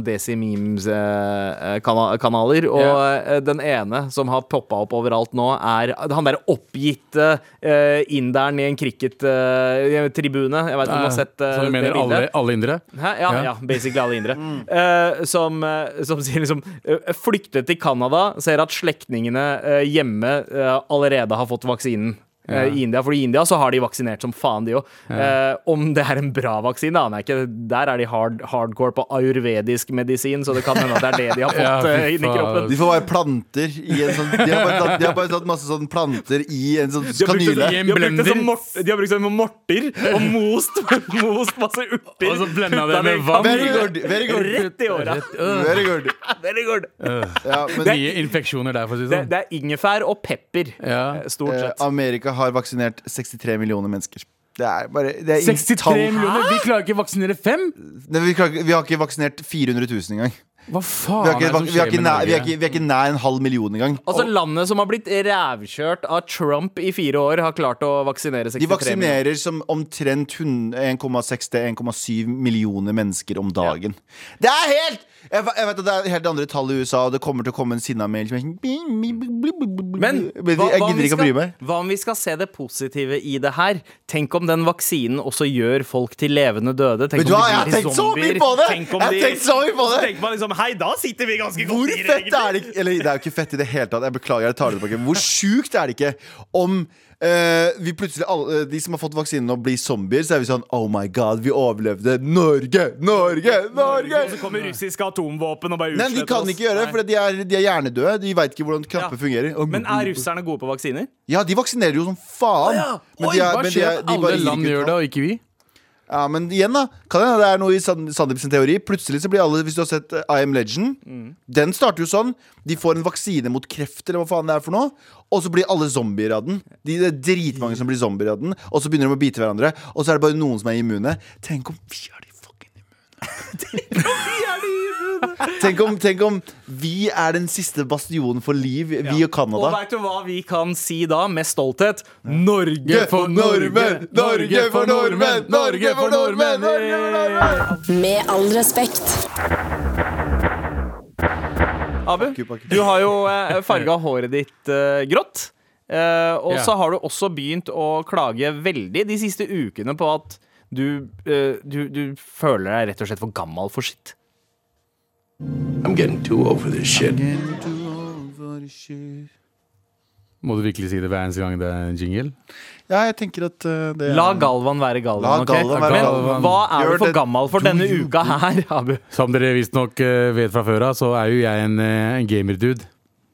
Speaker 3: eh, Desi-memes-kanaler. Og
Speaker 4: Ja.
Speaker 3: eh, den ene som har poppa opp overalt nå, er han derre oppgitte eh, inderen i en eh, cricket-tribune. jeg veit ikke om du har sett eh,
Speaker 4: Så du mener
Speaker 3: det bildet.
Speaker 4: alle, alle indere?
Speaker 3: Hæ? Ja, ja.
Speaker 4: Ja.
Speaker 3: basically alle indre.
Speaker 2: Mm.
Speaker 3: Eh, som, eh, som sier liksom eh, Flyktet til Canada, ser at slektningene eh, hjemme eh, allerede har fått vaksinen. eh,
Speaker 4: Ja.
Speaker 3: I India, for i India så har de vaksinert som faen, de òg. om det er en bra vaksine, aner jeg ikke. Der er de hard, hardcore på ayurvedisk medisin, så det kan hende at det er det de har
Speaker 4: Ja,
Speaker 3: fått
Speaker 4: fy
Speaker 3: eh, inn i
Speaker 4: faen.
Speaker 3: kroppen.
Speaker 2: De får bare planter i en sånn De har bare tatt, de har bare tatt masse sånn planter i en sånn
Speaker 3: De har brukt det,
Speaker 2: kanyle.
Speaker 3: som- de har brukt det som mort, de har brukt det som morter og most, most masse urter.
Speaker 4: Og så blenda det
Speaker 3: Putta
Speaker 4: med
Speaker 3: i
Speaker 4: vann.
Speaker 2: Very
Speaker 3: kanyle.
Speaker 2: good. Very good.
Speaker 3: Rett i åra.
Speaker 2: Very good.
Speaker 3: Very good.
Speaker 2: Ja, men
Speaker 4: Nye infeksjoner der, for å si det
Speaker 3: Det,
Speaker 4: sånn.
Speaker 3: det er ingefær og pepper,
Speaker 4: Ja.
Speaker 3: eh, stort
Speaker 2: eh,
Speaker 3: sett.
Speaker 2: Amerika har vaksinert 63 millioner mennesker. Det er bare det er ingen
Speaker 4: 63
Speaker 2: tall.
Speaker 4: millioner! Vi klarer ikke å vaksinere fem!
Speaker 2: Nei, vi, klarer ikke- vi har ikke vaksinert 400 000 engang.
Speaker 4: Hva faen
Speaker 2: Vi er ikke,
Speaker 4: er det som
Speaker 2: vi er
Speaker 4: skjer
Speaker 2: ikke,
Speaker 4: med
Speaker 2: nær, vi er
Speaker 4: Norge?
Speaker 2: ikke, vi er ikke nær en halv million engang.
Speaker 3: Altså Landet som har blitt rævkjørt av Trump i fire år, har klart å vaksinere 63
Speaker 2: De vaksinerer som omtrent 100 1,6 til 1,7 millioner mennesker om dagen. Det er helt jeg, ve- jeg vet at Det er helt andre tall i USA, og det kommer til å komme en sinna-mail som er sånn
Speaker 3: Men
Speaker 2: Men
Speaker 3: hva,
Speaker 2: jeg
Speaker 3: hva, om
Speaker 2: gidder
Speaker 3: vi
Speaker 2: ikke å bry
Speaker 3: skal,
Speaker 2: meg.
Speaker 3: hva om vi skal se det positive i det her? Tenk om den vaksinen også gjør folk til levende døde? Tenk
Speaker 2: Vet du
Speaker 3: om
Speaker 2: hva,
Speaker 3: de
Speaker 2: jeg har
Speaker 3: blir
Speaker 2: tenkt så mye
Speaker 3: zombier.
Speaker 2: på det!
Speaker 3: Tenk om
Speaker 2: Jeg har
Speaker 3: de-
Speaker 2: tenkt så mye på det
Speaker 3: tenker man liksom Hei, da sitter vi ganske
Speaker 2: Hvor fett er det ikke Eller det er jo ikke fett i det hele tatt. Jeg beklager, jeg tar det tilbake. Hvor sjukt er det ikke om eh, vi plutselig alle, De som har fått vaksinen nå, blir zombier, så er vi sånn Oh my god, vi overlevde! Norge! Norge! Norge!
Speaker 3: kommer russiske atomvåpen og bare
Speaker 2: Nei, de kan ikke gjøre det, for de er, de er hjernedøde. De veit ikke hvordan knapper fungerer. Og-
Speaker 3: Men er russerne gode på vaksiner?
Speaker 2: Ja, de vaksinerer jo som faen. Men de er-
Speaker 4: Hva
Speaker 2: men de
Speaker 4: skjer
Speaker 2: er-
Speaker 4: at
Speaker 2: de bare
Speaker 4: alle
Speaker 2: gir
Speaker 4: land
Speaker 2: ikke
Speaker 4: gjør
Speaker 2: ut.
Speaker 4: det, og ikke vi?
Speaker 2: Ja, men igjen da Kan det hende det er noe i San- Sandeep sin teori Plutselig så blir alle, hvis du har sett eh, I am Legend Den starter jo sånn De får en vaksine mot kreft Eller hva faen det er for noe Og så blir alle zombier av den de, Det er dritmange som blir zombier av den Og så begynner de å bite hverandre Og så er det bare noen som er immune Tenk om vi er de fucking immune Tenk om, tenk om vi er den siste bastionen for liv Vi og
Speaker 3: Og
Speaker 2: Kanada
Speaker 3: veit du hva vi kan si da, med stolthet? Norge
Speaker 2: Norge for nordmenn! Norge for nordmenn! Norge for nordmenn! Norge for nordmenn!
Speaker 8: Med all respekt.
Speaker 3: Abu,
Speaker 2: pakke.
Speaker 3: du har jo eh, farga håret ditt eh, grått. Eh, og
Speaker 4: Ja.
Speaker 3: så har du også begynt å klage veldig de siste ukene på at du, eh, du, du føler deg rett og slett for gammel for sitt.
Speaker 5: I'm getting too old for this shit.
Speaker 4: Må du virkelig si det hver eneste gang det er en jingle?
Speaker 2: Ja, jeg tenker at eh, det er-
Speaker 3: La Galvan være Galvan.
Speaker 2: La
Speaker 3: ok?
Speaker 2: Galvan
Speaker 4: være
Speaker 3: Men
Speaker 4: Galvan.
Speaker 3: hva er
Speaker 2: Gjør
Speaker 3: du for
Speaker 2: det
Speaker 3: gammel for denne
Speaker 2: du
Speaker 3: uka her, Abu?
Speaker 4: Som dere visstnok uh, vet fra før av, så er jo jeg en, eh, en gamerdude.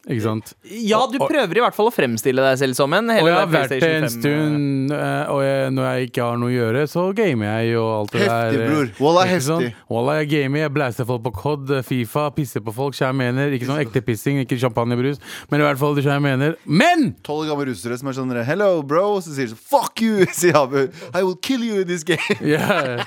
Speaker 4: Ikke sant?
Speaker 3: Ja, du prøver i hvert fall å fremstille deg selv som en.
Speaker 4: Og
Speaker 3: hele
Speaker 4: jeg har
Speaker 3: den
Speaker 4: vært det
Speaker 3: PlayStation 5, eh,
Speaker 4: en stund, eh, og jeg, når jeg ikke har noe å gjøre, så gamer jeg og alt det
Speaker 2: Heftig,
Speaker 4: der. eh,
Speaker 2: bror. Wallah,
Speaker 4: ikke sant?
Speaker 2: heftig.
Speaker 4: Wallah, jeg gamer, jeg blæster folk på COD, Fifa, pisser på folk, skjær mener. Ikke sånn ekte pissing, ikke champagnebrus, men i hvert fall du skjær mener. Men!
Speaker 2: tolv gamle russere som er sånn Hello, bro. Så sier de sånn Fuck you! sier Abu. I will kill you in this game.
Speaker 4: Yeah.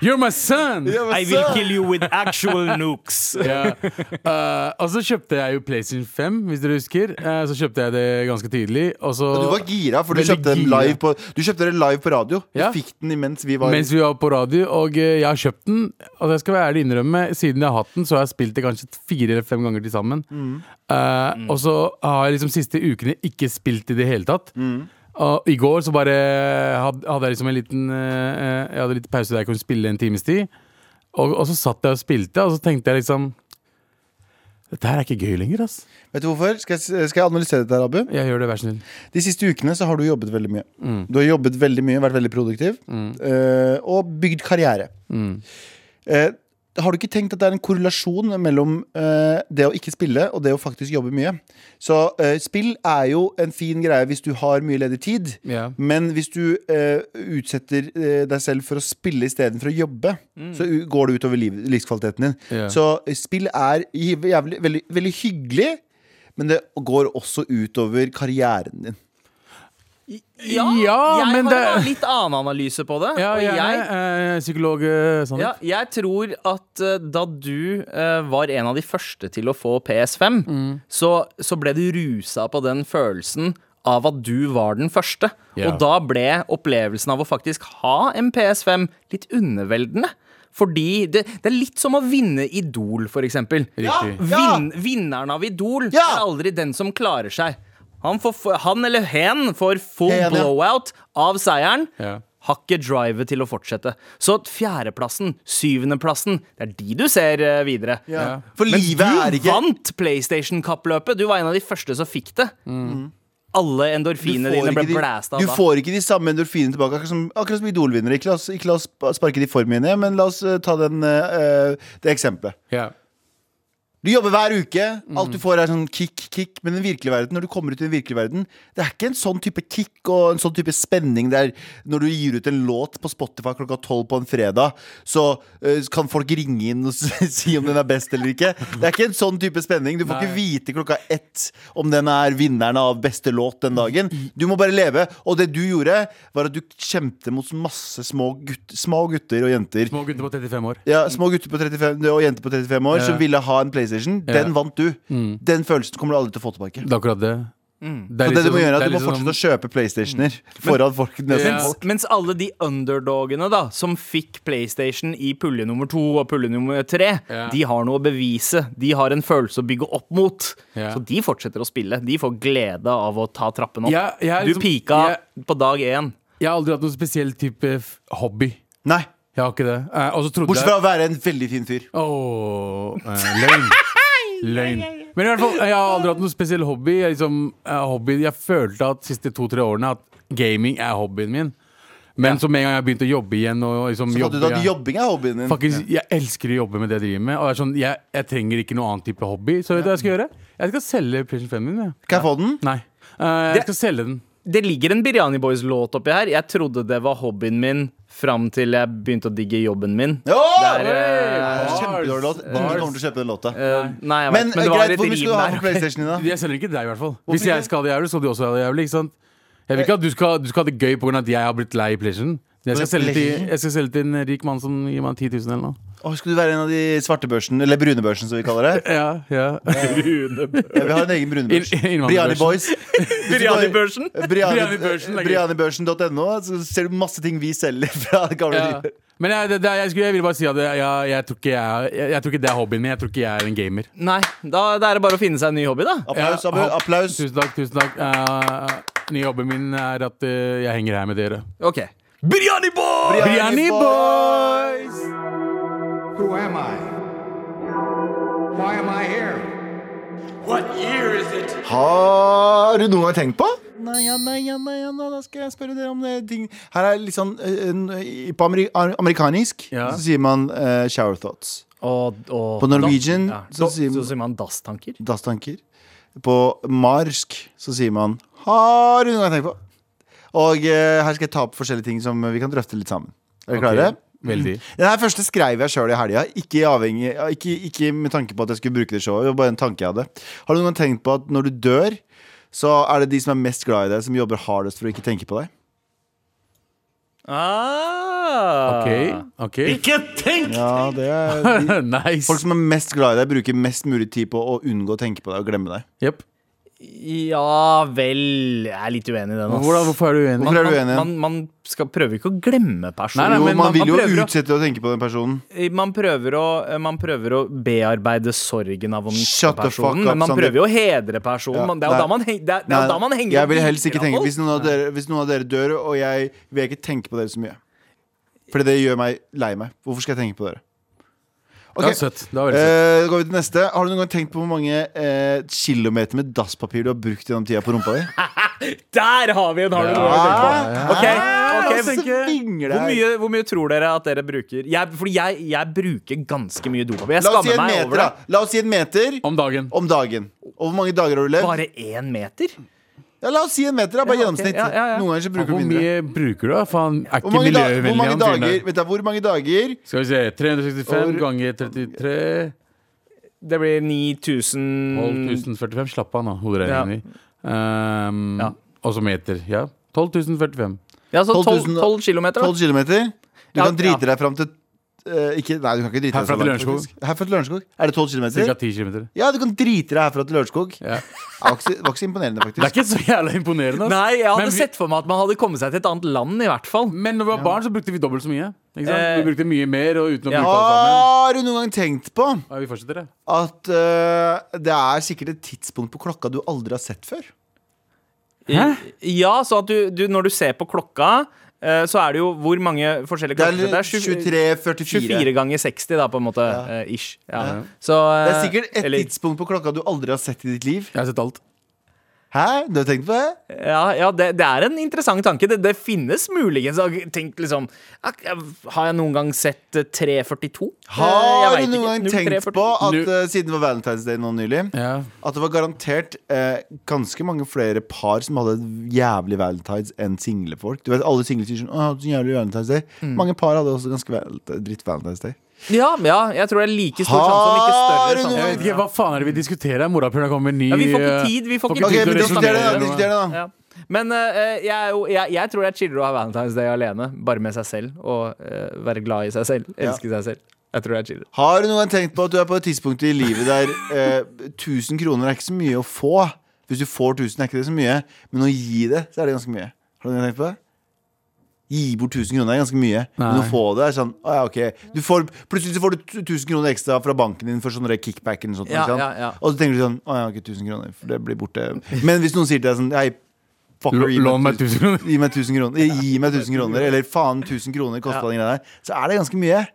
Speaker 4: You're my son!
Speaker 2: Ja, men
Speaker 3: I will
Speaker 2: så-
Speaker 3: kill you with actual nukes.
Speaker 4: Ja. Eh, og så kjøpte jeg jo PlayStation 5, hvis dere husker. Eh, så kjøpte jeg det ganske tidlig. Og så
Speaker 2: Du var gira, for du
Speaker 4: Veldig
Speaker 2: kjøpte den
Speaker 4: gira.
Speaker 2: live på Du kjøpte den live på radio.
Speaker 4: Ja.
Speaker 2: Du fikk den mens vi var
Speaker 4: Mens vi var på radio, og eh, jeg har kjøpt den. Og jeg skal være ærlig innrømme, siden jeg har hatt den, så har jeg spilt det kanskje fire eller fem ganger til sammen. Eh, Og så har jeg liksom siste ukene ikke spilt i det hele tatt. Og I går så bare had- hadde jeg liksom en liten eh, Jeg hadde litt pause der jeg kunne spille en times tid. Og, og så satt jeg og spilte, og så tenkte jeg liksom Dette her er ikke gøy lenger, ass.
Speaker 2: Vet du hvorfor? Skal jeg, skal jeg analysere dette, her, Abu?
Speaker 4: Jeg gjør det, vær snill.
Speaker 2: De siste ukene så har du jobbet veldig mye. Du har jobbet veldig mye, vært veldig produktiv, eh, og bygd karriere. Eh, har du ikke tenkt at det er en korrelasjon mellom eh, det å ikke spille og det å faktisk jobbe mye? Så eh, spill er jo en fin greie hvis du har mye ledig tid,
Speaker 4: Ja.
Speaker 2: men hvis du eh, utsetter eh, deg selv for å spille istedenfor å jobbe, så u- går det utover liv, livskvaliteten din.
Speaker 4: Ja.
Speaker 2: Så eh, spill er jævlig, veldig, veldig hyggelig, men det går også utover karrieren din.
Speaker 3: Ja,
Speaker 4: Ja,
Speaker 3: jeg
Speaker 4: men
Speaker 3: har en
Speaker 4: det-
Speaker 3: litt annen analyse på det.
Speaker 4: Ja,
Speaker 3: og
Speaker 4: gjerne.
Speaker 3: jeg
Speaker 4: eh, psykolog eh, Sandeep.
Speaker 3: Ja, jeg tror at eh, da du eh, var en av de første til å få PS5,
Speaker 4: Mm.
Speaker 3: så, så ble du rusa på den følelsen av at du var den første.
Speaker 4: Ja.
Speaker 3: Og da ble opplevelsen av å faktisk ha en PS5 litt underveldende. Fordi det, det er litt som å vinne Idol, for eksempel.
Speaker 4: Riktig.
Speaker 3: Vinn, vinneren av Idol
Speaker 2: Ja!
Speaker 3: er aldri den som klarer seg. Han, får, f- han eller hen får full
Speaker 2: Hen, ja.
Speaker 3: blowout av seieren.
Speaker 4: Ja.
Speaker 3: Har ikke drivet til å fortsette. Så at fjerdeplassen, syvendeplassen, det er de du ser eh, videre.
Speaker 2: For livet er
Speaker 3: Du
Speaker 2: ikke
Speaker 3: vant PlayStation-kappløpet! Du var en av de første som fikk det. Alle
Speaker 2: Mm. du
Speaker 3: endorfinene
Speaker 2: får,
Speaker 3: dine
Speaker 2: ikke
Speaker 3: ble
Speaker 2: de,
Speaker 3: blæsta av
Speaker 2: du
Speaker 3: da.
Speaker 2: får ikke de samme endorfinene tilbake, akkurat som, akkurat som Idol-vinnere. Ikke, la oss- ikke la oss sparke de for mye ned, men la oss eh, ta den, eh, eh, det eksempelet.
Speaker 4: Ja.
Speaker 2: Du jobber hver uke. Alt du får er sånn kick, kick. Men den virkelige verden, når du kommer ut i den virkelige verden, det er ikke en sånn type kick og en sånn type spenning der når du gir ut en låt på Spotify klokka tolv på en fredag, så eh, kan folk ringe inn og si om den er best eller ikke. Det er ikke en sånn type spenning. Du får ikke vite klokka ett om den er vinneren av beste låt den dagen. Du må bare leve. Og det du gjorde, var at du kjempet mot masse små, gutt, små gutter og jenter
Speaker 4: Små gutter på 35 år.
Speaker 2: ja, Små gutter på 35, og jenter på 35 år
Speaker 4: Ja.
Speaker 2: som ville ha en PlayStation. Den
Speaker 4: Ja.
Speaker 2: vant du. Den følelsen kommer du aldri til å få tilbake.
Speaker 4: Det er akkurat det.
Speaker 2: Og
Speaker 4: Det er
Speaker 2: det du må
Speaker 4: liksom-
Speaker 2: gjøre er
Speaker 4: det
Speaker 2: at
Speaker 4: er
Speaker 2: du må
Speaker 4: liksom-
Speaker 2: fortsette å kjøpe PlayStationer foran folk. Nesten.
Speaker 4: Ja.
Speaker 3: Mens, mens alle de underdogene da som fikk PlayStation i pulje nummer to og pulje nummer tre,
Speaker 4: Ja.
Speaker 3: de har noe å bevise. De har en følelse å bygge opp mot.
Speaker 4: Ja.
Speaker 3: Så de fortsetter å spille. De får glede av å ta trappen opp.
Speaker 4: Jeg- jeg er liksom-
Speaker 3: du pika
Speaker 4: jeg-
Speaker 3: på dag én.
Speaker 4: Jeg har aldri hatt noen spesiell type f- hobby.
Speaker 2: Nei.
Speaker 4: Jeg har ikke det. Eh, og så trodde
Speaker 2: Bortsett fra
Speaker 4: jeg
Speaker 2: å være en veldig fin fyr.
Speaker 4: Åh, eh, løgn. Løgn. Men i hvert fall, jeg har aldri hatt noen spesiell hobby. Jeg, liksom, eh, hobby. jeg følte at siste to-tre årene at gaming er hobbyen min. Men så med en gang jeg begynte å jobbe igjen og liksom
Speaker 2: Så fant du ut at
Speaker 4: jeg-
Speaker 2: jobbing er hobbyen din.
Speaker 4: Faktisk, jeg elsker å jobbe med det jeg driver med. Og jeg, er sånn, jeg, jeg trenger ikke noen annen type hobby. Så vet du hva jeg skal gjøre? Jeg skal selge PlayStation 5 min. Jeg.
Speaker 2: Kan jeg få den?
Speaker 4: Nei. Eh, jeg skal selge den.
Speaker 3: Det ligger en Biryani Boys-låt oppi her. Jeg trodde det var hobbyen min fram til jeg begynte å digge jobben min.
Speaker 2: Åh!
Speaker 3: Det er, eh,
Speaker 4: Bars.
Speaker 2: Kjempedårlig låt. Ingen kommer til å kjøpe den låta.
Speaker 3: Eh, nei,
Speaker 2: Men,
Speaker 3: jeg vet, men, det
Speaker 2: eh,
Speaker 3: var
Speaker 2: greit,
Speaker 3: et
Speaker 2: hvor mye skal du ha for
Speaker 3: rim der.
Speaker 2: PlayStationen din, da?
Speaker 4: Jeg selger ikke deg, i hvert fall. Hvis
Speaker 2: ikke?
Speaker 4: jeg skal ha det jævlig, så skal du også ha det jævlig. Ikke sant? Jeg vil ikke at du skal, du skal ha det gøy pga. at jeg har blitt lei PlayStation. Jeg skal, selge til, jeg skal selge til en rik mann som gir meg 10 000 eller noe.
Speaker 2: Åh, skulle du være en av de svartebørsen, eller brunebørsen, som vi kaller det?
Speaker 4: Ja, ja.
Speaker 2: Ja, vi har en egen brunebørs.
Speaker 4: Inn- innvandrerbørsen.
Speaker 2: Briani Boys.
Speaker 3: Biryani-børsen?
Speaker 2: Briani-
Speaker 4: Briani-børsen, legger-
Speaker 2: Brianibørsen.no. Så ser du masse ting vi selger fra gamle
Speaker 4: Ja.
Speaker 2: livet.
Speaker 4: Men jeg, det, det, jeg, skulle, jeg ville bare si at jeg, jeg, jeg, tror ikke jeg, jeg, jeg tror ikke det er hobbyen min. Jeg tror ikke jeg er en gamer.
Speaker 3: Nei, da, da er det bare å finne seg en ny hobby, da.
Speaker 2: Applaus,
Speaker 4: Ja,
Speaker 2: Abu.
Speaker 4: hopp.
Speaker 2: Applaus.
Speaker 4: Tusen takk. tusen takk Eh, Ny jobben min er at eh, jeg henger her med dere.
Speaker 3: Ok Biryani Boys!
Speaker 4: Briani boys!
Speaker 9: Who am I? Why am I here?
Speaker 2: Har du noen gang tenkt på? Nei, ja, nei, ja, nei, ja, da skal jeg spørre dere om det ting Her er litt sånn eh, en- i- På ameri ar- amerikanisk
Speaker 4: Ja.
Speaker 2: så sier man eh, shower thoughts.
Speaker 3: Og, og,
Speaker 2: På Norwegian
Speaker 3: da, ja.
Speaker 2: så
Speaker 3: så,
Speaker 2: sier-
Speaker 3: sier, så sier man dasstanker.
Speaker 2: Dasstanker. På marsk så sier man Har du noen gang tenkt på? Og eh, her skal jeg ta opp forskjellige ting som vi kan drøfte litt sammen. Er dere klare?
Speaker 4: Veldig.
Speaker 2: Den her første skrev jeg sjøl i helga. Ikke, avhengig- ikke, ikke med tanke på at jeg skulle bruke det showet. Det var bare en tanke jeg hadde Har du noen gang tenkt på at når du dør, så er det de som er mest glad i deg, som jobber hardest for å ikke tenke på deg?
Speaker 3: Ah.
Speaker 4: OK. ok
Speaker 2: Ja, det er de,
Speaker 4: Nice.
Speaker 2: Folk som er mest glad i deg, bruker mest mulig tid på å unngå å tenke på deg og glemme deg.
Speaker 4: Jep.
Speaker 3: Ja vel Jeg er litt uenig i den. ass.
Speaker 4: Hvordan, hvorfor er du uenig?
Speaker 2: Hvorfor er du
Speaker 3: Man,
Speaker 2: uenig?
Speaker 3: man, man skal prøve ikke å glemme
Speaker 2: jo,
Speaker 4: Nei,
Speaker 3: personen.
Speaker 4: men
Speaker 2: man,
Speaker 4: man-
Speaker 2: vil
Speaker 3: man
Speaker 2: jo
Speaker 3: prøver å-
Speaker 2: utsette å tenke på den personen.
Speaker 3: Eh, man, prøver å, eh, man prøver å bearbeide sorgen av å miste
Speaker 2: Shut the fuck
Speaker 3: personen,
Speaker 2: up,
Speaker 3: men man
Speaker 2: Sandeep.
Speaker 3: prøver jo å hedre personen.
Speaker 2: Ja,
Speaker 3: Man- Det er jo
Speaker 2: nei.
Speaker 3: da man, heng, det er, det er
Speaker 2: Nei,
Speaker 3: jo da man henger
Speaker 2: jeg vil helst
Speaker 3: litt
Speaker 2: ikke
Speaker 3: grann
Speaker 2: tenke
Speaker 3: på.
Speaker 2: hvis noen, av dere, hvis noen av dere dør, og jeg vil jeg ikke tenke på dere så mye. For det gjør meg lei meg. Hvorfor skal jeg tenke på dere?
Speaker 4: Det
Speaker 2: Ok,
Speaker 4: var søtt. Det var veldig søtt.
Speaker 2: eh, går vi til neste. Har du noen gang tenkt på hvor mange eh, kilometer med dasspapir du har brukt gjennom tida på rumpa di?
Speaker 3: Der har vi en! Har du noe å tenke på? Ok, ok,
Speaker 2: altså,
Speaker 3: Hvor mye, hvor mye tror dere at dere bruker? Jeg, fordi jeg, jeg bruker ganske mye dopapir. Jeg
Speaker 2: La oss si
Speaker 3: skammer
Speaker 2: en
Speaker 3: meg
Speaker 2: meter,
Speaker 3: over det.
Speaker 2: da. La oss si en meter
Speaker 4: Om dagen.
Speaker 2: om dagen. Eh, Og hvor mange dager har du levd?
Speaker 3: Bare én meter?
Speaker 2: Ja, la oss si en meter, da. Bare
Speaker 3: Ja, ok.
Speaker 2: gjennomsnitt.
Speaker 3: Ja, ja, ja.
Speaker 2: Noen ganger så bruker du
Speaker 4: Hvor
Speaker 2: mindre.
Speaker 4: mye bruker du, da? Faen,
Speaker 2: Hvor
Speaker 4: er ikke
Speaker 2: mange, da, hvor, mange
Speaker 4: miljøvennlig han
Speaker 2: dager,
Speaker 4: fyren der.
Speaker 2: vet du, hvor mange dager
Speaker 4: Skal vi se. 365
Speaker 2: Over-
Speaker 4: ganger 33
Speaker 3: Det blir 9000
Speaker 4: 12045. Slapp av nå, hoderegningen din. Ehm,
Speaker 3: Ja.
Speaker 4: Og så meter. Ja. 12045.
Speaker 3: Ja, så
Speaker 2: 12
Speaker 3: 12,
Speaker 2: 000
Speaker 3: kilometer.
Speaker 2: 12
Speaker 3: Da.
Speaker 2: kilometer? Du
Speaker 3: Ja,
Speaker 2: kan drite
Speaker 3: ja.
Speaker 2: deg fram til eh, ikke, Nei, du kan ikke drite deg
Speaker 4: Herfra
Speaker 2: så
Speaker 4: til
Speaker 2: langt,
Speaker 4: Lørenskog.
Speaker 2: faktisk. Herfra til Lørenskog? Er det 12
Speaker 4: Ca.
Speaker 2: kilometer?
Speaker 4: 10 km.
Speaker 2: Ja, du kan drite deg herfra til Lørenskog.
Speaker 4: Ja.
Speaker 2: Det var ikke så- var ikke så imponerende,
Speaker 4: Det er
Speaker 2: faktisk.
Speaker 4: ikke så jævla imponerende. ass.
Speaker 3: Nei, jeg hadde
Speaker 4: Men vi-
Speaker 3: sett for meg at man hadde kommet seg til et annet land, i hvert fall.
Speaker 4: Men når vi var barn, så brukte vi dobbelt så mye. Ikke sant?
Speaker 3: Eh.
Speaker 4: Vi brukte mye mer og uten å
Speaker 3: Ja.
Speaker 4: bruke alt sammen.
Speaker 2: Har du noen gang tenkt på
Speaker 4: Ja, vi fortsetter, det.
Speaker 2: at eh, det er sikkert et tidspunkt på klokka du aldri har sett før?
Speaker 3: Ja, så at du, du når du ser på klokka, eh, så er det jo hvor mange forskjellige
Speaker 2: Det er
Speaker 3: klokker
Speaker 2: 23, 44.
Speaker 3: 24 ganger 60, da, på en måte. eh, Ish. Ja. Så,
Speaker 2: Det er
Speaker 3: eh,
Speaker 2: sikkert et
Speaker 3: eller-
Speaker 2: tidspunkt på klokka du aldri har sett i ditt liv.
Speaker 4: Jeg har sett alt.
Speaker 2: Hæ? Du har tenkt på det?
Speaker 3: Ja, ja det, det er en interessant tanke. Det, det finnes muligens og Tenk liksom ak- Har jeg noen gang sett eh, 342?
Speaker 2: Har
Speaker 3: Eh, jeg
Speaker 2: du
Speaker 3: vet
Speaker 2: noen
Speaker 3: ikke.
Speaker 2: gang
Speaker 3: 0342.
Speaker 2: tenkt på at
Speaker 4: Nu-
Speaker 2: eh, siden det var Valentine's Day nå nylig,
Speaker 4: Ja.
Speaker 2: at det var garantert eh, ganske mange flere par som hadde jævlig valentines enn single folk? Du vet, Alle single sier sånn «Å, jeg hadde så jævlig valentines day. Mange par hadde også ganske val dritt valentines day.
Speaker 3: Ja, ja, jeg tror det er like stor sjanse, om ikke
Speaker 2: Har
Speaker 3: større.
Speaker 2: du
Speaker 4: Jeg
Speaker 3: sjanse.
Speaker 2: noen-
Speaker 4: vet ikke, Hva faen er det vi diskuterer? Morapuleren kommer med ny
Speaker 3: Ja, vi får ikke tid. Vi får ikke
Speaker 2: Ok,
Speaker 3: tid
Speaker 2: vi
Speaker 3: til å
Speaker 2: diskuterer det, da.
Speaker 3: resonere.
Speaker 2: Diskuterer det, da.
Speaker 3: Ja. Men eh, jeg, er jo, jeg, jeg tror det er chillere å ha Valentine's Day alene, bare med seg selv. Og eh, være glad i seg selv. Elske seg selv. Jeg tror det er chillere.
Speaker 2: Har du noen gang tenkt på at du er på et tidspunkt i livet der eh, 1000 kroner er ikke så mye å få? Hvis du får 1000, er ikke det så mye, men å gi det, så er det ganske mye. Har du noen gang tenkt på det? Gi bort 1000 kroner er ganske mye, men å få det er sånn å, ja, ok. du får, Plutselig så får du 1000 kroner ekstra fra banken din for sånn der kickback eller noe sånt.
Speaker 3: Ja,
Speaker 2: ikke sant?
Speaker 3: ja, ja.
Speaker 2: Og så tenker du sånn Å ja, ok, 1000 kroner, for det blir borte. Men hvis noen sier til deg sånn Hei, fucker, gi
Speaker 4: Lån meg
Speaker 2: tusen-
Speaker 4: 1000 kroner.
Speaker 2: Gi meg 1000 kroner, gi meg 1000 kroner eller faen 1000 kroner kosta den greia der, så er det ganske mye.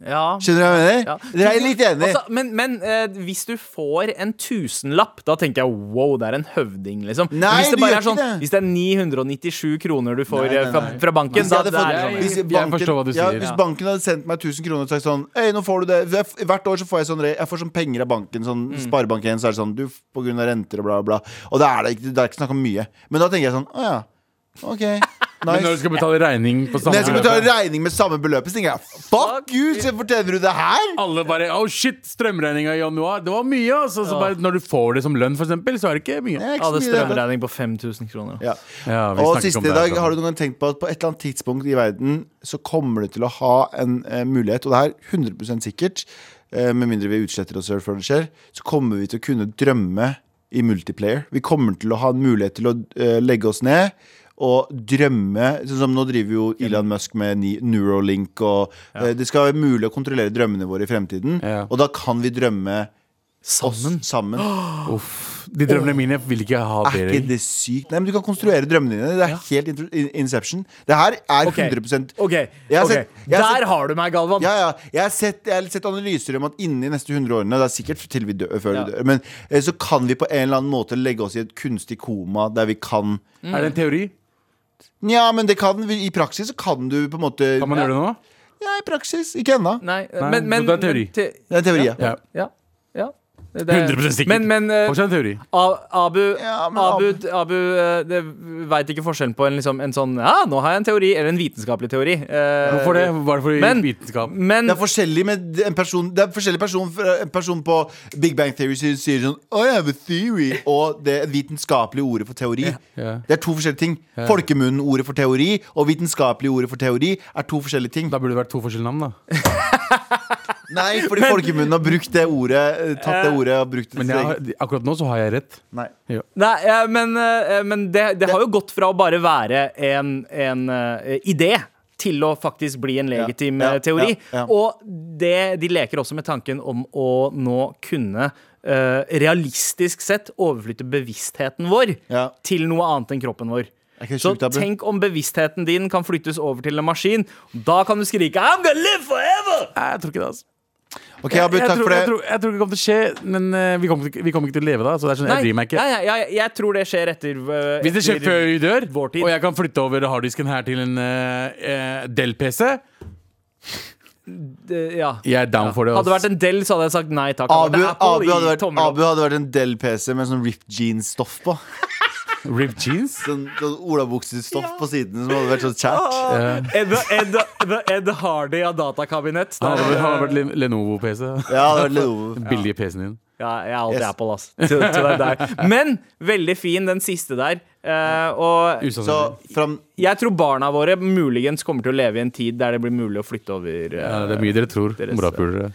Speaker 3: Ja.
Speaker 2: Skjønner du hva jeg mener?
Speaker 3: Ja.
Speaker 2: Dere er litt enige.
Speaker 3: Altså, men men eh, hvis du får en tusenlapp, da tenker jeg wow, det er en høvding, liksom. Men
Speaker 2: Nei,
Speaker 3: hvis,
Speaker 2: du
Speaker 3: det
Speaker 2: gjør
Speaker 3: bare er sånn,
Speaker 2: ikke det.
Speaker 3: hvis det er 997 kroner du får
Speaker 2: Nei, nei,
Speaker 3: eh, fra,
Speaker 2: nei.
Speaker 3: fra banken,
Speaker 2: Hvis jeg
Speaker 3: da
Speaker 2: hadde
Speaker 3: det er
Speaker 2: fått-
Speaker 3: det
Speaker 2: hvis
Speaker 3: sånn.
Speaker 4: jeg- forstår hva du
Speaker 2: ja,
Speaker 4: sier.
Speaker 2: Hvis
Speaker 4: Ja.
Speaker 2: banken hadde sendt meg 1000 kroner og sagt sånn Øy, nå får du det Jeg f- Hvert år så får jeg sånn re- Jeg får sånn penger av banken,
Speaker 3: Mm.
Speaker 2: sånn sparebank 1, så er det sånn Du, f- på grunn av renter og bla, bla. Og da er det ikke, det er ikke snakk om mye. Men da tenker jeg sånn Å ja. OK.
Speaker 4: Men når du
Speaker 2: Nice.
Speaker 4: skal betale regning på
Speaker 2: Når
Speaker 4: samme
Speaker 2: jeg skal betale regning med samme beløpet, så tenker jeg fuck you, så fortjener du det her?
Speaker 4: alle bare Oh shit, strømregninga i januar. Det var mye, altså. Så bare, når du får det som lønn, for eksempel, så er det ikke mye.
Speaker 2: Det er ikke
Speaker 3: Jeg
Speaker 2: så
Speaker 3: hadde
Speaker 2: mye, det.
Speaker 3: strømregning på 5000 kroner.
Speaker 2: Ja.
Speaker 4: Ja, vi
Speaker 2: og
Speaker 4: snakker ikke
Speaker 2: siste
Speaker 4: om det
Speaker 2: i
Speaker 4: her,
Speaker 2: dag,
Speaker 4: sånn.
Speaker 2: har du noen gang tenkt på at på et eller annet tidspunkt i verden så kommer du til å ha en eh, mulighet, og det er 100 sikkert, eh, med mindre vi utsletter oss selv før det skjer, så kommer vi til å kunne drømme i multiplayer. Vi kommer til å ha en mulighet til å eh, legge oss ned. Og drømme sånn som Nå driver jo Elon Musk med ni- Neuralink. Og, eh, det skal være mulig å kontrollere drømmene våre i fremtiden.
Speaker 4: Ja.
Speaker 2: Og da kan vi drømme
Speaker 3: Sammen.
Speaker 2: oss sammen.
Speaker 4: De drømmene mine vil ikke ha
Speaker 2: Er
Speaker 4: dere.
Speaker 2: ikke det sykt? Nei, men Du kan konstruere drømmene dine. Det er helt intro- in- Inception. Det her er
Speaker 3: Ok.
Speaker 2: 100
Speaker 3: Ok,
Speaker 2: Jeg har
Speaker 3: ok.
Speaker 2: sett- jeg har
Speaker 3: Der
Speaker 2: sett-
Speaker 3: har du meg, Galvan.
Speaker 2: ja, ja. Jeg har sett, jeg har sett analyser om at innen de neste 100 årene Det er sikkert til vi dør, før
Speaker 3: Ja.
Speaker 2: vi dør Men eh, så kan vi på en eller annen måte legge oss i et kunstig koma der vi kan
Speaker 4: Er det en teori?
Speaker 2: Ja, men det kan vi- i praksis så kan du på en måte
Speaker 4: Kan man gjøre det nå?
Speaker 2: Ja, i praksis. Ikke ennå.
Speaker 3: Nei, eh,
Speaker 4: Nei,
Speaker 3: men, men
Speaker 4: så det er teori.
Speaker 3: te-
Speaker 2: Det er teori. Ja.
Speaker 4: Ja.
Speaker 3: Ja. ja. Det- det-
Speaker 4: 100 sikkert.
Speaker 3: Men, men eh,
Speaker 4: Fortsatt en teori.
Speaker 3: A- Abu,
Speaker 2: Ja, men
Speaker 3: Abu, Abu eh, det veit ikke forskjellen på en, liksom, en sånn Ja, nå har jeg en teori, eller en vitenskapelig teori. Eh,
Speaker 4: Hvorfor det? Var det fordi
Speaker 3: Men-
Speaker 4: vitenskap?
Speaker 3: Men
Speaker 2: Det er forskjellig med en person Det er forskjellig person fra- En person på Big Bang Theory sier, sier sånn I have a theory Og det vitenskapelige ordet for teori
Speaker 4: Ja.
Speaker 2: Det er to forskjellige ting Folkemunnen ordet for teori Og vitenskapelige ordet for teori Er to forskjellige ting
Speaker 4: Da burde det vært to forskjellige navn, da.
Speaker 2: Nei, fordi folkemunnen har brukt det ordet eh, Tatt det ordet og brukt det
Speaker 4: Men
Speaker 2: til
Speaker 4: jeg
Speaker 2: egen-
Speaker 4: har, akkurat nå så har jeg rett.
Speaker 2: Nei
Speaker 3: Nei, eh, men, eh, men det, det har jo gått fra å bare være en, en eh, idé til å faktisk bli en legitim
Speaker 2: Ja, ja,
Speaker 3: eh, teori.
Speaker 2: ja, ja.
Speaker 3: Og det, de leker også med tanken om å nå kunne eh, realistisk sett overflytte bevisstheten vår
Speaker 2: Ja.
Speaker 3: til noe annet enn kroppen vår.
Speaker 2: Er ikke det
Speaker 3: Så
Speaker 2: sjukt, Abu?
Speaker 3: tenk om bevisstheten din kan flyttes over til en maskin. Da kan du skrike 'I'm gonna live forever'!
Speaker 4: Nei, jeg tror ikke det, altså.
Speaker 2: Ok, Abu,
Speaker 4: jeg,
Speaker 2: takk
Speaker 4: tror,
Speaker 2: for det
Speaker 4: Jeg tror, jeg tror ikke det kommer til å skje, men eh, vi, kommer til, vi kommer ikke til å leve da. Så det er sånn, jeg driver meg ikke.
Speaker 3: Nei, nei, jeg, jeg tror det skjer etter eh,
Speaker 4: Hvis det skjer
Speaker 3: etter-
Speaker 4: før vi dør,
Speaker 3: Vår tid.
Speaker 4: og jeg kan flytte over harddisken her til en eh, eh, Dell-PC,
Speaker 3: eh, ja.
Speaker 4: jeg er down for det.
Speaker 3: Hadde det
Speaker 4: ass.
Speaker 3: vært en Del, så hadde jeg sagt nei takk.
Speaker 2: Abu,
Speaker 3: Hadde det vært Apple
Speaker 2: Abu,
Speaker 3: i
Speaker 2: hadde vært,
Speaker 3: tommelen opp.
Speaker 2: Abu hadde vært en Dell-PC med sånn ripped jeans stoff på
Speaker 4: Ripped jeans?
Speaker 2: Sånn, sånn olabuksestoff på siden Som hadde vært sånn chat
Speaker 3: Ed, Ed, the Ed Hardy av datakabinett.
Speaker 4: Han
Speaker 3: Der,
Speaker 4: hadde vært- han hadde vært Len- Lenovo-PC.
Speaker 2: Ja, det hadde vært litt
Speaker 4: Den billige PC-en din.
Speaker 3: ja, jeg er alltid
Speaker 2: Yes.
Speaker 3: Apple, ass. Til, til den der. Men veldig fin, den siste der. Eh, og
Speaker 2: Så
Speaker 4: Usannsynlig.
Speaker 2: fram
Speaker 3: jeg tror barna våre muligens kommer til å leve i en tid der det blir mulig å flytte over eh,
Speaker 4: Ja, det er mye dere tror.
Speaker 3: Deres-
Speaker 4: Morapulere.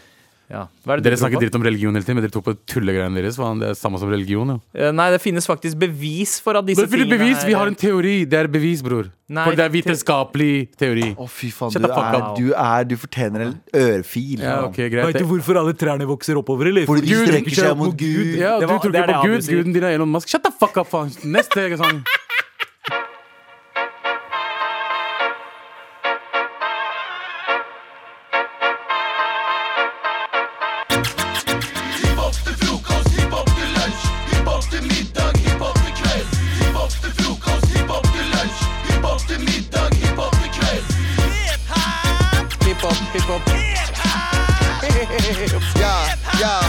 Speaker 3: ja. Hva er det du
Speaker 4: Dere
Speaker 3: tror
Speaker 4: snakker
Speaker 3: på?
Speaker 4: dritt om religion hele tiden, men dere tror på tullegreiene deres. Faen, det er samme som religion, jo.
Speaker 3: Eh, Nei, det finnes faktisk bevis for at disse
Speaker 4: Men Philip, bevis!
Speaker 3: er-
Speaker 4: Vi har en teori. Det er bevis, bror.
Speaker 3: Nei,
Speaker 4: For det er
Speaker 3: te-
Speaker 4: vitenskapelig teori.
Speaker 2: Å, fy faen,
Speaker 4: Shut
Speaker 2: du
Speaker 4: the fuck
Speaker 2: er,
Speaker 3: up.
Speaker 2: du er Du fortjener en ørefil.
Speaker 4: Ja, ok, greit.
Speaker 3: Vet du hvorfor alle trærne vokser oppover, eller?
Speaker 2: Fordi de
Speaker 4: Gud,
Speaker 2: strekker seg mot Gud.
Speaker 4: Ja, og
Speaker 3: Det
Speaker 4: du
Speaker 3: var-
Speaker 4: tror
Speaker 3: det er
Speaker 4: ikke
Speaker 3: det
Speaker 4: på
Speaker 3: Abu
Speaker 4: Gud.
Speaker 3: sier.
Speaker 4: Guden din er Elon Musk. Shut the fuck up, faen! Neste sang.
Speaker 5: Hiphop til frokost, hiphop til lunsj, hiphop til middag, hiphop til kveld.
Speaker 3: hiphop.
Speaker 2: Ja, ja.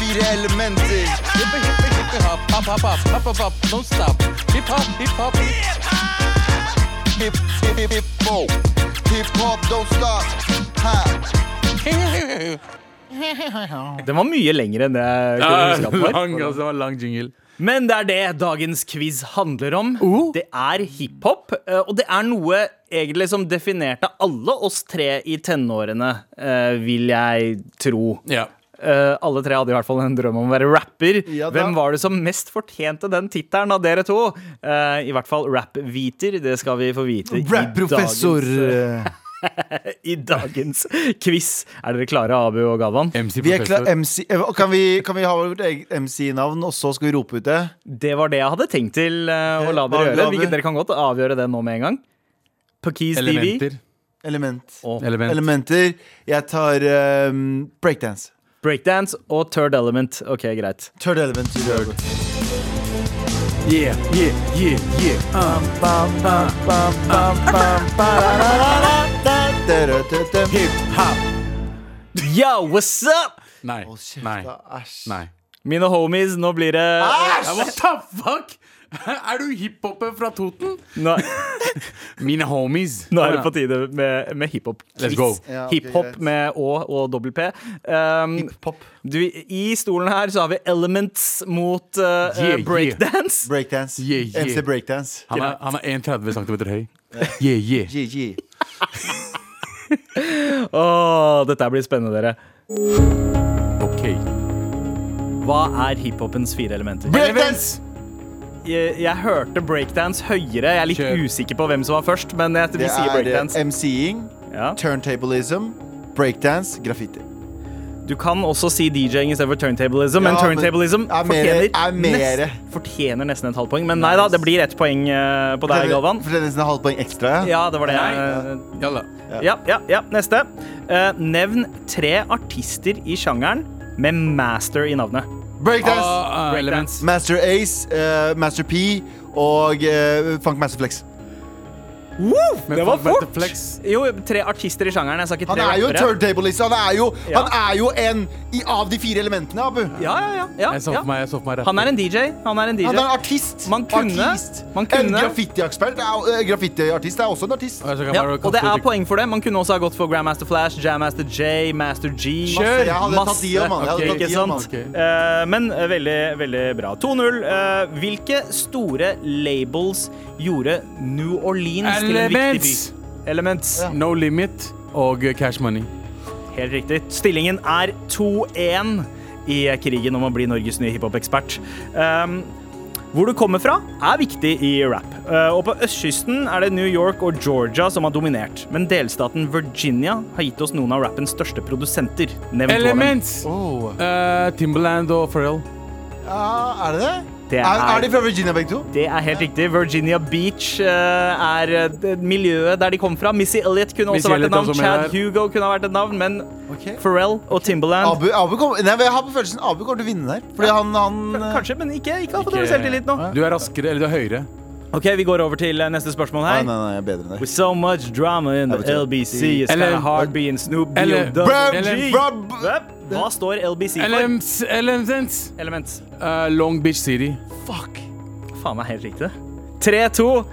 Speaker 2: Fire elementer.
Speaker 3: Hiphop, hop, hop, hop, hop, hop, hop, don't stop. Hiphop, hiphop.
Speaker 2: Hip, hip, hip, hip, bo. Hiphop, don't stop. Ha.
Speaker 3: Den var mye lengre enn det jeg kunne
Speaker 4: Ja,
Speaker 3: huske at den var.
Speaker 4: lang, altså, det var lang jingle.
Speaker 3: Men det er det dagens quiz handler om.
Speaker 2: Oh.
Speaker 3: Det er hiphop, eh, og det er noe egentlig som definerte alle oss tre i tenårene, eh, vil jeg tro.
Speaker 4: Ja.
Speaker 3: Eh, alle tre hadde i hvert fall en drøm om å være rapper.
Speaker 2: Ja da.
Speaker 3: Hvem var det som mest fortjente den tittelen av dere to? Eh, I hvert fall rap-viter. Det skal vi få vite i
Speaker 2: Rap-professor.
Speaker 3: dagens,
Speaker 2: eh.
Speaker 3: i dagens quiz. Er dere klare, Abu og Galvan?
Speaker 4: MC
Speaker 2: Vi er klar,
Speaker 4: Professor.
Speaker 2: MC, eh, kan, vi, kan vi ha vårt eget MC-navn, og så skal vi rope ut det?
Speaker 3: Det var det jeg hadde tenkt til eh, å la dere
Speaker 2: Abu,
Speaker 3: gjøre.
Speaker 2: Abu.
Speaker 3: Hvilket dere kan godt avgjøre det nå med en gang. Pakis TV.
Speaker 4: Elementer.
Speaker 2: Element.
Speaker 4: Element.
Speaker 2: Elementer. Jeg tar eh, breakdance.
Speaker 3: Breakdance og Third Element. Ok, greit.
Speaker 2: Third element.
Speaker 4: Yeah, yeah, yeah, yeah.
Speaker 3: Ah. Yo, what's up?
Speaker 4: Nei. Nei. Nei.
Speaker 3: Mine homies, nå blir det
Speaker 4: Ja, what the fuck? Er du hiphoper fra Toten?
Speaker 3: Nå,
Speaker 4: Mine homies.
Speaker 3: nå er det på tide med, med hiphop-quiz.
Speaker 4: Ah. Let's go.
Speaker 2: Ja, ok,
Speaker 3: hiphop
Speaker 2: greit.
Speaker 3: med Å og dobbel P. Um,
Speaker 2: Hiphop.
Speaker 3: du, I stolen her så har vi Elements mot uh,
Speaker 4: Yeah, yeah.
Speaker 3: breakdance.
Speaker 2: Breakdance.
Speaker 4: Yeah, yeah.
Speaker 2: MC breakdance.
Speaker 4: Han er, han er 1,30 cm høy. Yeah, yeah.
Speaker 2: GG.
Speaker 3: Åh, dette her blir spennende, dere.
Speaker 4: Ok.
Speaker 3: Hva er hiphopens fire elementer?
Speaker 2: Breakdance!
Speaker 3: Jeg, jeg hørte breakdance høyere. Jeg er litt
Speaker 4: Kjør.
Speaker 3: usikker på hvem som var først, men jeg, vi
Speaker 2: Det
Speaker 3: sier
Speaker 2: er
Speaker 3: breakdance.
Speaker 2: eh, MC-ing,
Speaker 3: Ja.
Speaker 2: turntablism, breakdance, graffiti.
Speaker 3: Du kan også si DJ-ing istedenfor turntablism, men
Speaker 2: Ja, men
Speaker 3: turntablism
Speaker 2: er mere-
Speaker 3: fortjener,
Speaker 2: er mere.
Speaker 3: nest- fortjener nesten et halvt poeng. Men nei da, det blir ett poeng eh, på deg, Galvan.
Speaker 2: For det er nesten et halvt poeng ekstra. Ja.
Speaker 3: Ja, det var det. eh,
Speaker 4: Jalla.
Speaker 3: Ja, ja, ja, neste. Eh, nevn tre artister i sjangeren med master i navnet.
Speaker 2: Breakdance!
Speaker 4: Ah, ah, elements.
Speaker 2: Master Ace, eh, Master P og eh, Funk Master Flex.
Speaker 4: Men
Speaker 3: det var
Speaker 4: fuck, Mette
Speaker 3: fort!
Speaker 4: Flex.
Speaker 3: Jo, tre artister i sjangeren. Jeg sa ikke
Speaker 2: Han
Speaker 3: tre
Speaker 2: er jo en
Speaker 3: rappere.
Speaker 2: turntablist. Han er jo,
Speaker 3: Ja.
Speaker 2: han er jo en i, av de fire elementene, Abu.
Speaker 3: Ja, ja, ja,
Speaker 4: Jeg så
Speaker 3: ja,
Speaker 4: for meg,
Speaker 3: ja.
Speaker 4: jeg så for meg rapper.
Speaker 3: Han er en DJ. Han er en
Speaker 2: Han er en
Speaker 3: DJ.
Speaker 2: artist.
Speaker 3: Man kunne-
Speaker 2: artist.
Speaker 3: man kunne-
Speaker 2: En graffitiekspert er, eh, graffitiartist er også en artist.
Speaker 4: Og jeg så kan
Speaker 3: Ja,
Speaker 4: bare
Speaker 3: og det
Speaker 4: kaste
Speaker 3: er
Speaker 4: ut-
Speaker 3: poeng for det. Man kunne også ha gått for Grandmaster Flash, Jammaster J, Master G.
Speaker 2: Masse. Jeg hadde tatt de om, mann. Jeg hadde
Speaker 4: Ok,
Speaker 2: tatt
Speaker 3: Ikke
Speaker 2: de om, mann.
Speaker 3: sant? Eh, men eh, veldig, veldig bra. 2-0. Eh, hvilke store labels gjorde New Orleans til en viktig by?
Speaker 4: Elements.
Speaker 3: Elements.
Speaker 4: No Limit og eh, Cash Money.
Speaker 3: Helt riktig. Stillingen er 2-1 i krigen om å bli Norges nye hiphop-ekspert. Um, hvor du kommer fra, er viktig i rap. Uh, og på østkysten er det New York og Georgia som har dominert. Men delstaten Virginia har gitt oss noen av rappens største produsenter. Nevn to av dem.
Speaker 4: Elements!
Speaker 2: Oh.
Speaker 4: Eh, Timberland og Pharrell.
Speaker 2: Ja, Ah, er det det?
Speaker 3: Det
Speaker 2: er,
Speaker 3: er-
Speaker 2: er, de fra Virginia, begge to?
Speaker 3: Det er helt riktig. Virginia Beach eh, er eh, det miljøet der de kom fra. Missy Elliot kunne
Speaker 4: Missy
Speaker 3: også vært
Speaker 4: Elliott
Speaker 3: et navn.
Speaker 4: også med
Speaker 3: Chad
Speaker 4: der.
Speaker 3: Hugo kunne ha vært et navn, men
Speaker 2: Ok.
Speaker 3: Pharrell og Timberland
Speaker 2: Abu, Abu kom, nei, men jeg har på følelsen Abu kommer til å vinne der. Fordi han, han eh,
Speaker 3: Kanskje, men ikke. Ikke ha for
Speaker 4: Ikke-
Speaker 3: dårlig selvtillit nå.
Speaker 4: Du er raskere, eller du er høyere.
Speaker 3: Ok, Vi går over til eh, neste spørsmål
Speaker 2: Nei,
Speaker 3: her.
Speaker 2: nei, nei, jeg er bedre enn deg.
Speaker 3: With so much drama in the
Speaker 2: Jeg betyr-
Speaker 3: LBC, it's
Speaker 4: Eller-
Speaker 3: kinda hard being Snoop Dogg.
Speaker 4: Eller-
Speaker 2: Bruh,
Speaker 4: LM.
Speaker 2: bruh,
Speaker 3: Hva hva står LBC for?
Speaker 4: Elements, elements.
Speaker 3: Elements.
Speaker 4: Eh, Long Beach City.
Speaker 2: Fuck.
Speaker 3: Faen meg helt riktig. 3-2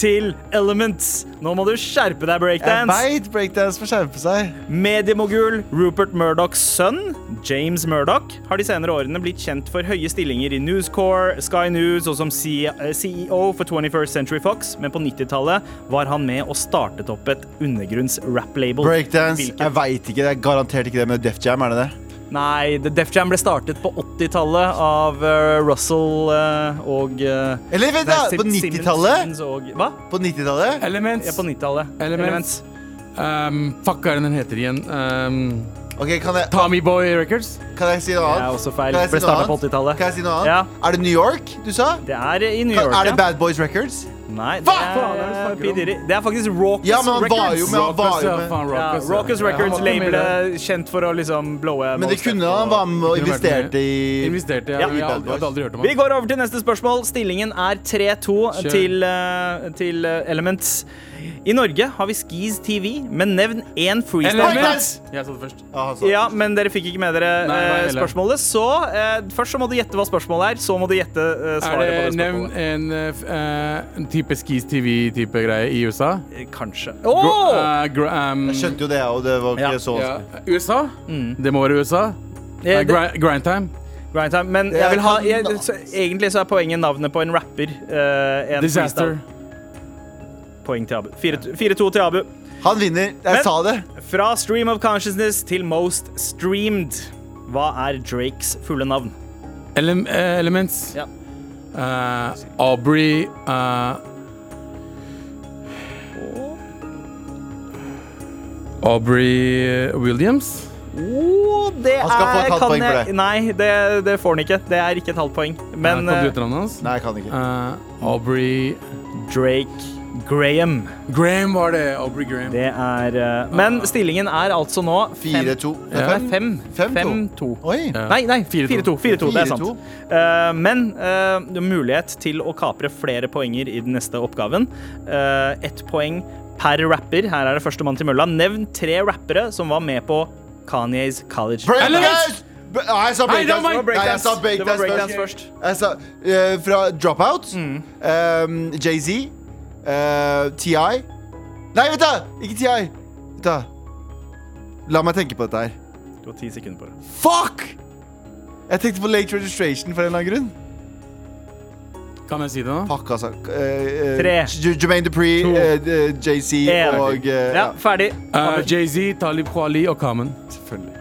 Speaker 3: til Elements. Nå må du skjerpe
Speaker 2: Jeg
Speaker 3: deg, breakdance.
Speaker 2: veit breakdance får skjerpe seg.
Speaker 3: Mediemogul Rupert Murdochs sønn, James Murdoch, har de senere årene blitt kjent for høye stillinger i News Corps, Sky News og som C- eh, CEO for 21st Century Fox, men på 90-tallet var han med og startet opp et undergrunns rap-label.
Speaker 2: Breakdance.
Speaker 3: Hvilket-
Speaker 2: Jeg veit ikke. Det er garantert ikke det med Def Jam, er det det?
Speaker 3: Nei, The Def Jam ble startet på 80-tallet av eh, Russell eh, og eh,
Speaker 2: Eller vent, da!
Speaker 3: Sim-
Speaker 2: På
Speaker 3: Simmons-
Speaker 2: 90-tallet?
Speaker 3: Simmons og- Hva?
Speaker 2: På 90-tallet?
Speaker 4: Elements.
Speaker 3: Ja, på 90-tallet.
Speaker 4: Elements. Um, fuck, hva er det den heter igjen? Um,
Speaker 2: Ok, kan jeg,
Speaker 4: Tommy Boy Records?
Speaker 2: kan jeg si noe
Speaker 3: Det
Speaker 2: annet?
Speaker 3: er også feil.
Speaker 2: Kan jeg si
Speaker 3: Ble
Speaker 2: noe
Speaker 3: startet på
Speaker 2: annet?
Speaker 3: 80-tallet.
Speaker 2: Kan jeg si noe annet?
Speaker 3: Ja.
Speaker 2: Er det New York du sa?
Speaker 3: Det er i New York,
Speaker 2: Kan, er det
Speaker 3: ja.
Speaker 2: Bad Boys Records?
Speaker 3: Nei, det
Speaker 2: Fuck!
Speaker 3: er, P. Diddy. Det er faktisk Raucous
Speaker 2: Ja, men han
Speaker 3: Records.
Speaker 2: var jo med. Han var jo
Speaker 4: Ja,
Speaker 2: med.
Speaker 4: faen,
Speaker 3: Ja,
Speaker 4: Rockers, ja.
Speaker 3: Raucous Records
Speaker 4: Ja, han var med der.
Speaker 3: labelet kjent for å liksom blowe
Speaker 2: Men det
Speaker 3: most
Speaker 2: kunne
Speaker 3: up
Speaker 2: han
Speaker 3: og-
Speaker 2: være med og
Speaker 4: Kunne vært
Speaker 2: investerte
Speaker 4: med.
Speaker 2: i
Speaker 4: eh, Investerte, ja.
Speaker 3: Ja.
Speaker 4: men Jeg hadde- hadde aldri hørt om
Speaker 3: Vi
Speaker 4: han.
Speaker 3: går over til neste spørsmål. Stillingen er 3-2
Speaker 4: Kjør.
Speaker 3: til, eh, til eh, Elements. I Norge har vi Skis TV, men nevn én freestyle.
Speaker 4: Element! Jeg sa det først.
Speaker 3: Ja, men dere fikk ikke med dere
Speaker 4: Nei, hva
Speaker 3: eh,
Speaker 4: heller?
Speaker 3: spørsmålet, så eh, først så må du gjette hva spørsmålet er, så må du gjette eh,
Speaker 4: Er
Speaker 3: svaret på
Speaker 4: det
Speaker 3: det
Speaker 4: nevn
Speaker 3: spørsmålet.
Speaker 4: en, eh, f- eh, en type Skis TV-type greie i USA?
Speaker 3: Eh, Kanskje. Åh!
Speaker 4: Eh, gr- ehm,
Speaker 2: Jeg skjønte jo det, og det var ikke
Speaker 3: Ja.
Speaker 2: så
Speaker 4: ja. USA? Det må være USA.
Speaker 3: Eh,
Speaker 4: Eh,
Speaker 3: det-
Speaker 4: gri- grind time.
Speaker 3: Grind time. Men jeg vil ha jeg, så, Egentlig så er poenget navnet på en rapper. eh, en
Speaker 4: Disaster.
Speaker 3: freestyle. Poeng til Abu. 4-2 4-2 til Abu.
Speaker 2: Han vinner. Jeg
Speaker 3: Men-
Speaker 2: sa det.
Speaker 3: Fra Stream of Consciousness til Most Streamed. Hva er Drakes fulle navn?
Speaker 4: Ele eh, elements.
Speaker 3: Ja.
Speaker 4: Eh, Aubrey eh, Aubrey Williams.
Speaker 3: Oh, det
Speaker 2: Han skal få et
Speaker 3: er-
Speaker 2: halvt
Speaker 3: kan
Speaker 2: poeng for
Speaker 3: jeg-
Speaker 2: det.
Speaker 3: Nei, det, det får han ikke. Det er ikke et halvt poeng. Men
Speaker 4: Eh, kan du
Speaker 3: eh,
Speaker 4: etternavnet hans?
Speaker 2: Nei, jeg kan ikke.
Speaker 4: Eh, Aubrey
Speaker 3: Drake Graham.
Speaker 4: Graham var det. Aubrey Graham.
Speaker 3: Det er eh, Men stillingen er altså nå fem-
Speaker 2: 4-2.
Speaker 3: Nei,
Speaker 2: Fem-
Speaker 3: fem.
Speaker 2: Fem, to.
Speaker 3: to.
Speaker 2: Oi.
Speaker 3: Nei, nei, 4-2. 4-2, Det er
Speaker 2: 4-2.
Speaker 3: sant. Eh, men eh, det er mulighet til å kapre flere poenger i den neste oppgaven. Uh, Ett poeng per rapper. Her er det førstemann til mølla. Nevn tre rappere som var med på Kanyes college.
Speaker 2: Breakdance! B- Nei, jeg sa
Speaker 4: Nei, det
Speaker 2: breakdance.
Speaker 4: var Mike-
Speaker 2: Nei, jeg sa
Speaker 3: Det var
Speaker 2: breakdance
Speaker 3: breakdance
Speaker 2: først.
Speaker 3: først.
Speaker 2: Jeg sa eh, fra Dropout, um, Jay-Z, eh, TI Nei, vent da! Ikke TI. Vent da. La meg tenke på dette her.
Speaker 3: Du har ti sekunder på det.
Speaker 2: Fuck! Jeg tenkte på late registration for en eller annen grunn.
Speaker 4: Kan jeg si det nå?
Speaker 2: Fuck, altså. Eh, eh,
Speaker 3: Tre.
Speaker 2: J- Jermaine Dupree,
Speaker 4: To.
Speaker 2: eh, eh, Jay-Z
Speaker 3: En.
Speaker 2: og eh,
Speaker 3: Ja, ferdig.
Speaker 4: Eh, Jay-Z, Talib Kweli og Common.
Speaker 2: Selvfølgelig.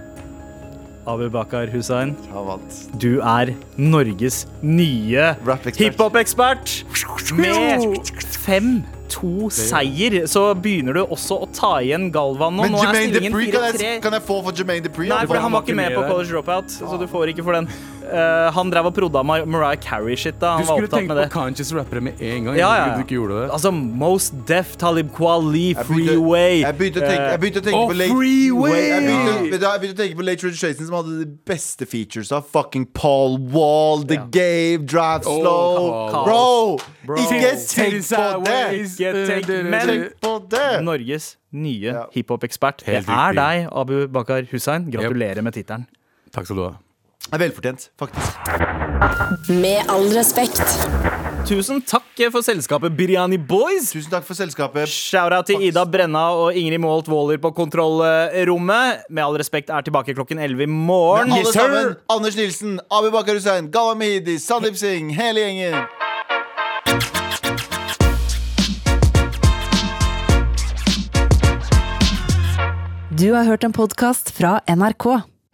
Speaker 3: Abu Bakar Hussein,
Speaker 2: Han vant.
Speaker 3: du er Norges nye
Speaker 2: Rap-ekspert.
Speaker 3: hiphop-ekspert. Med 5-2-seier så begynner du også å ta igjen Galvan nå.
Speaker 2: Men
Speaker 3: nå er
Speaker 2: Jermaine
Speaker 3: stillingen
Speaker 2: Dupree, kan jeg,
Speaker 3: 4-3.
Speaker 2: kan jeg få for Jermaine Dupree?
Speaker 3: Nei, for han var
Speaker 4: var
Speaker 3: ikke
Speaker 4: ikke
Speaker 3: med
Speaker 4: med
Speaker 3: på
Speaker 4: der.
Speaker 3: College Dropout, så du får ikke for den. Eh, han drev og prodda Mar Mariah Carey-shit da han
Speaker 4: Du
Speaker 3: var
Speaker 4: skulle
Speaker 3: opptatt
Speaker 4: tenkt
Speaker 3: med
Speaker 4: på
Speaker 3: det.
Speaker 4: conscious rappere med en gang.
Speaker 3: Ja, ja,
Speaker 4: Jeg trodde
Speaker 3: ja.
Speaker 4: du ikke gjorde det.
Speaker 3: Altså, Most Deaf, Talib Kweli,
Speaker 2: Jeg begynte-
Speaker 3: Freeway
Speaker 2: Jeg begynte å tenke, jeg begynte å tenke
Speaker 4: Å,
Speaker 2: på late,
Speaker 4: Freeway!
Speaker 2: Jeg begynte, vet du hva, jeg begynte å tenke på Late Registration, som hadde de beste features av fucking Paul Wall, The Game, Drive Slow.
Speaker 4: Paul.
Speaker 2: Bro, ikke tenk på det!
Speaker 4: Sideways,
Speaker 3: Eh, Ikke tenk-
Speaker 4: eh,
Speaker 3: men-
Speaker 2: Tenk på det!
Speaker 3: Norges nye
Speaker 2: Ja.
Speaker 3: hiphop-ekspert. Det
Speaker 4: Helt
Speaker 3: er
Speaker 4: riktig.
Speaker 3: deg, Abu Bakar Hussein. Gratulerer med tittelen.
Speaker 4: Takk skal du ha.
Speaker 2: Det er velfortjent, faktisk.
Speaker 8: Med all respekt.
Speaker 3: Tusen takk for selskapet Biryani Boys.
Speaker 2: Tusen takk for selskapet.
Speaker 3: Shout-out til Ida Brenna og Ingrid Moholt Waaler på kontrollrommet. Med all respekt er tilbake klokken 11 i morgen.
Speaker 2: Alle sammen. Anders Nilsen, Abu Bakar Hussein, Galla Mehidi, Sandeep Singh, hele gjengen.
Speaker 1: Du har hørt en podkast fra NRK.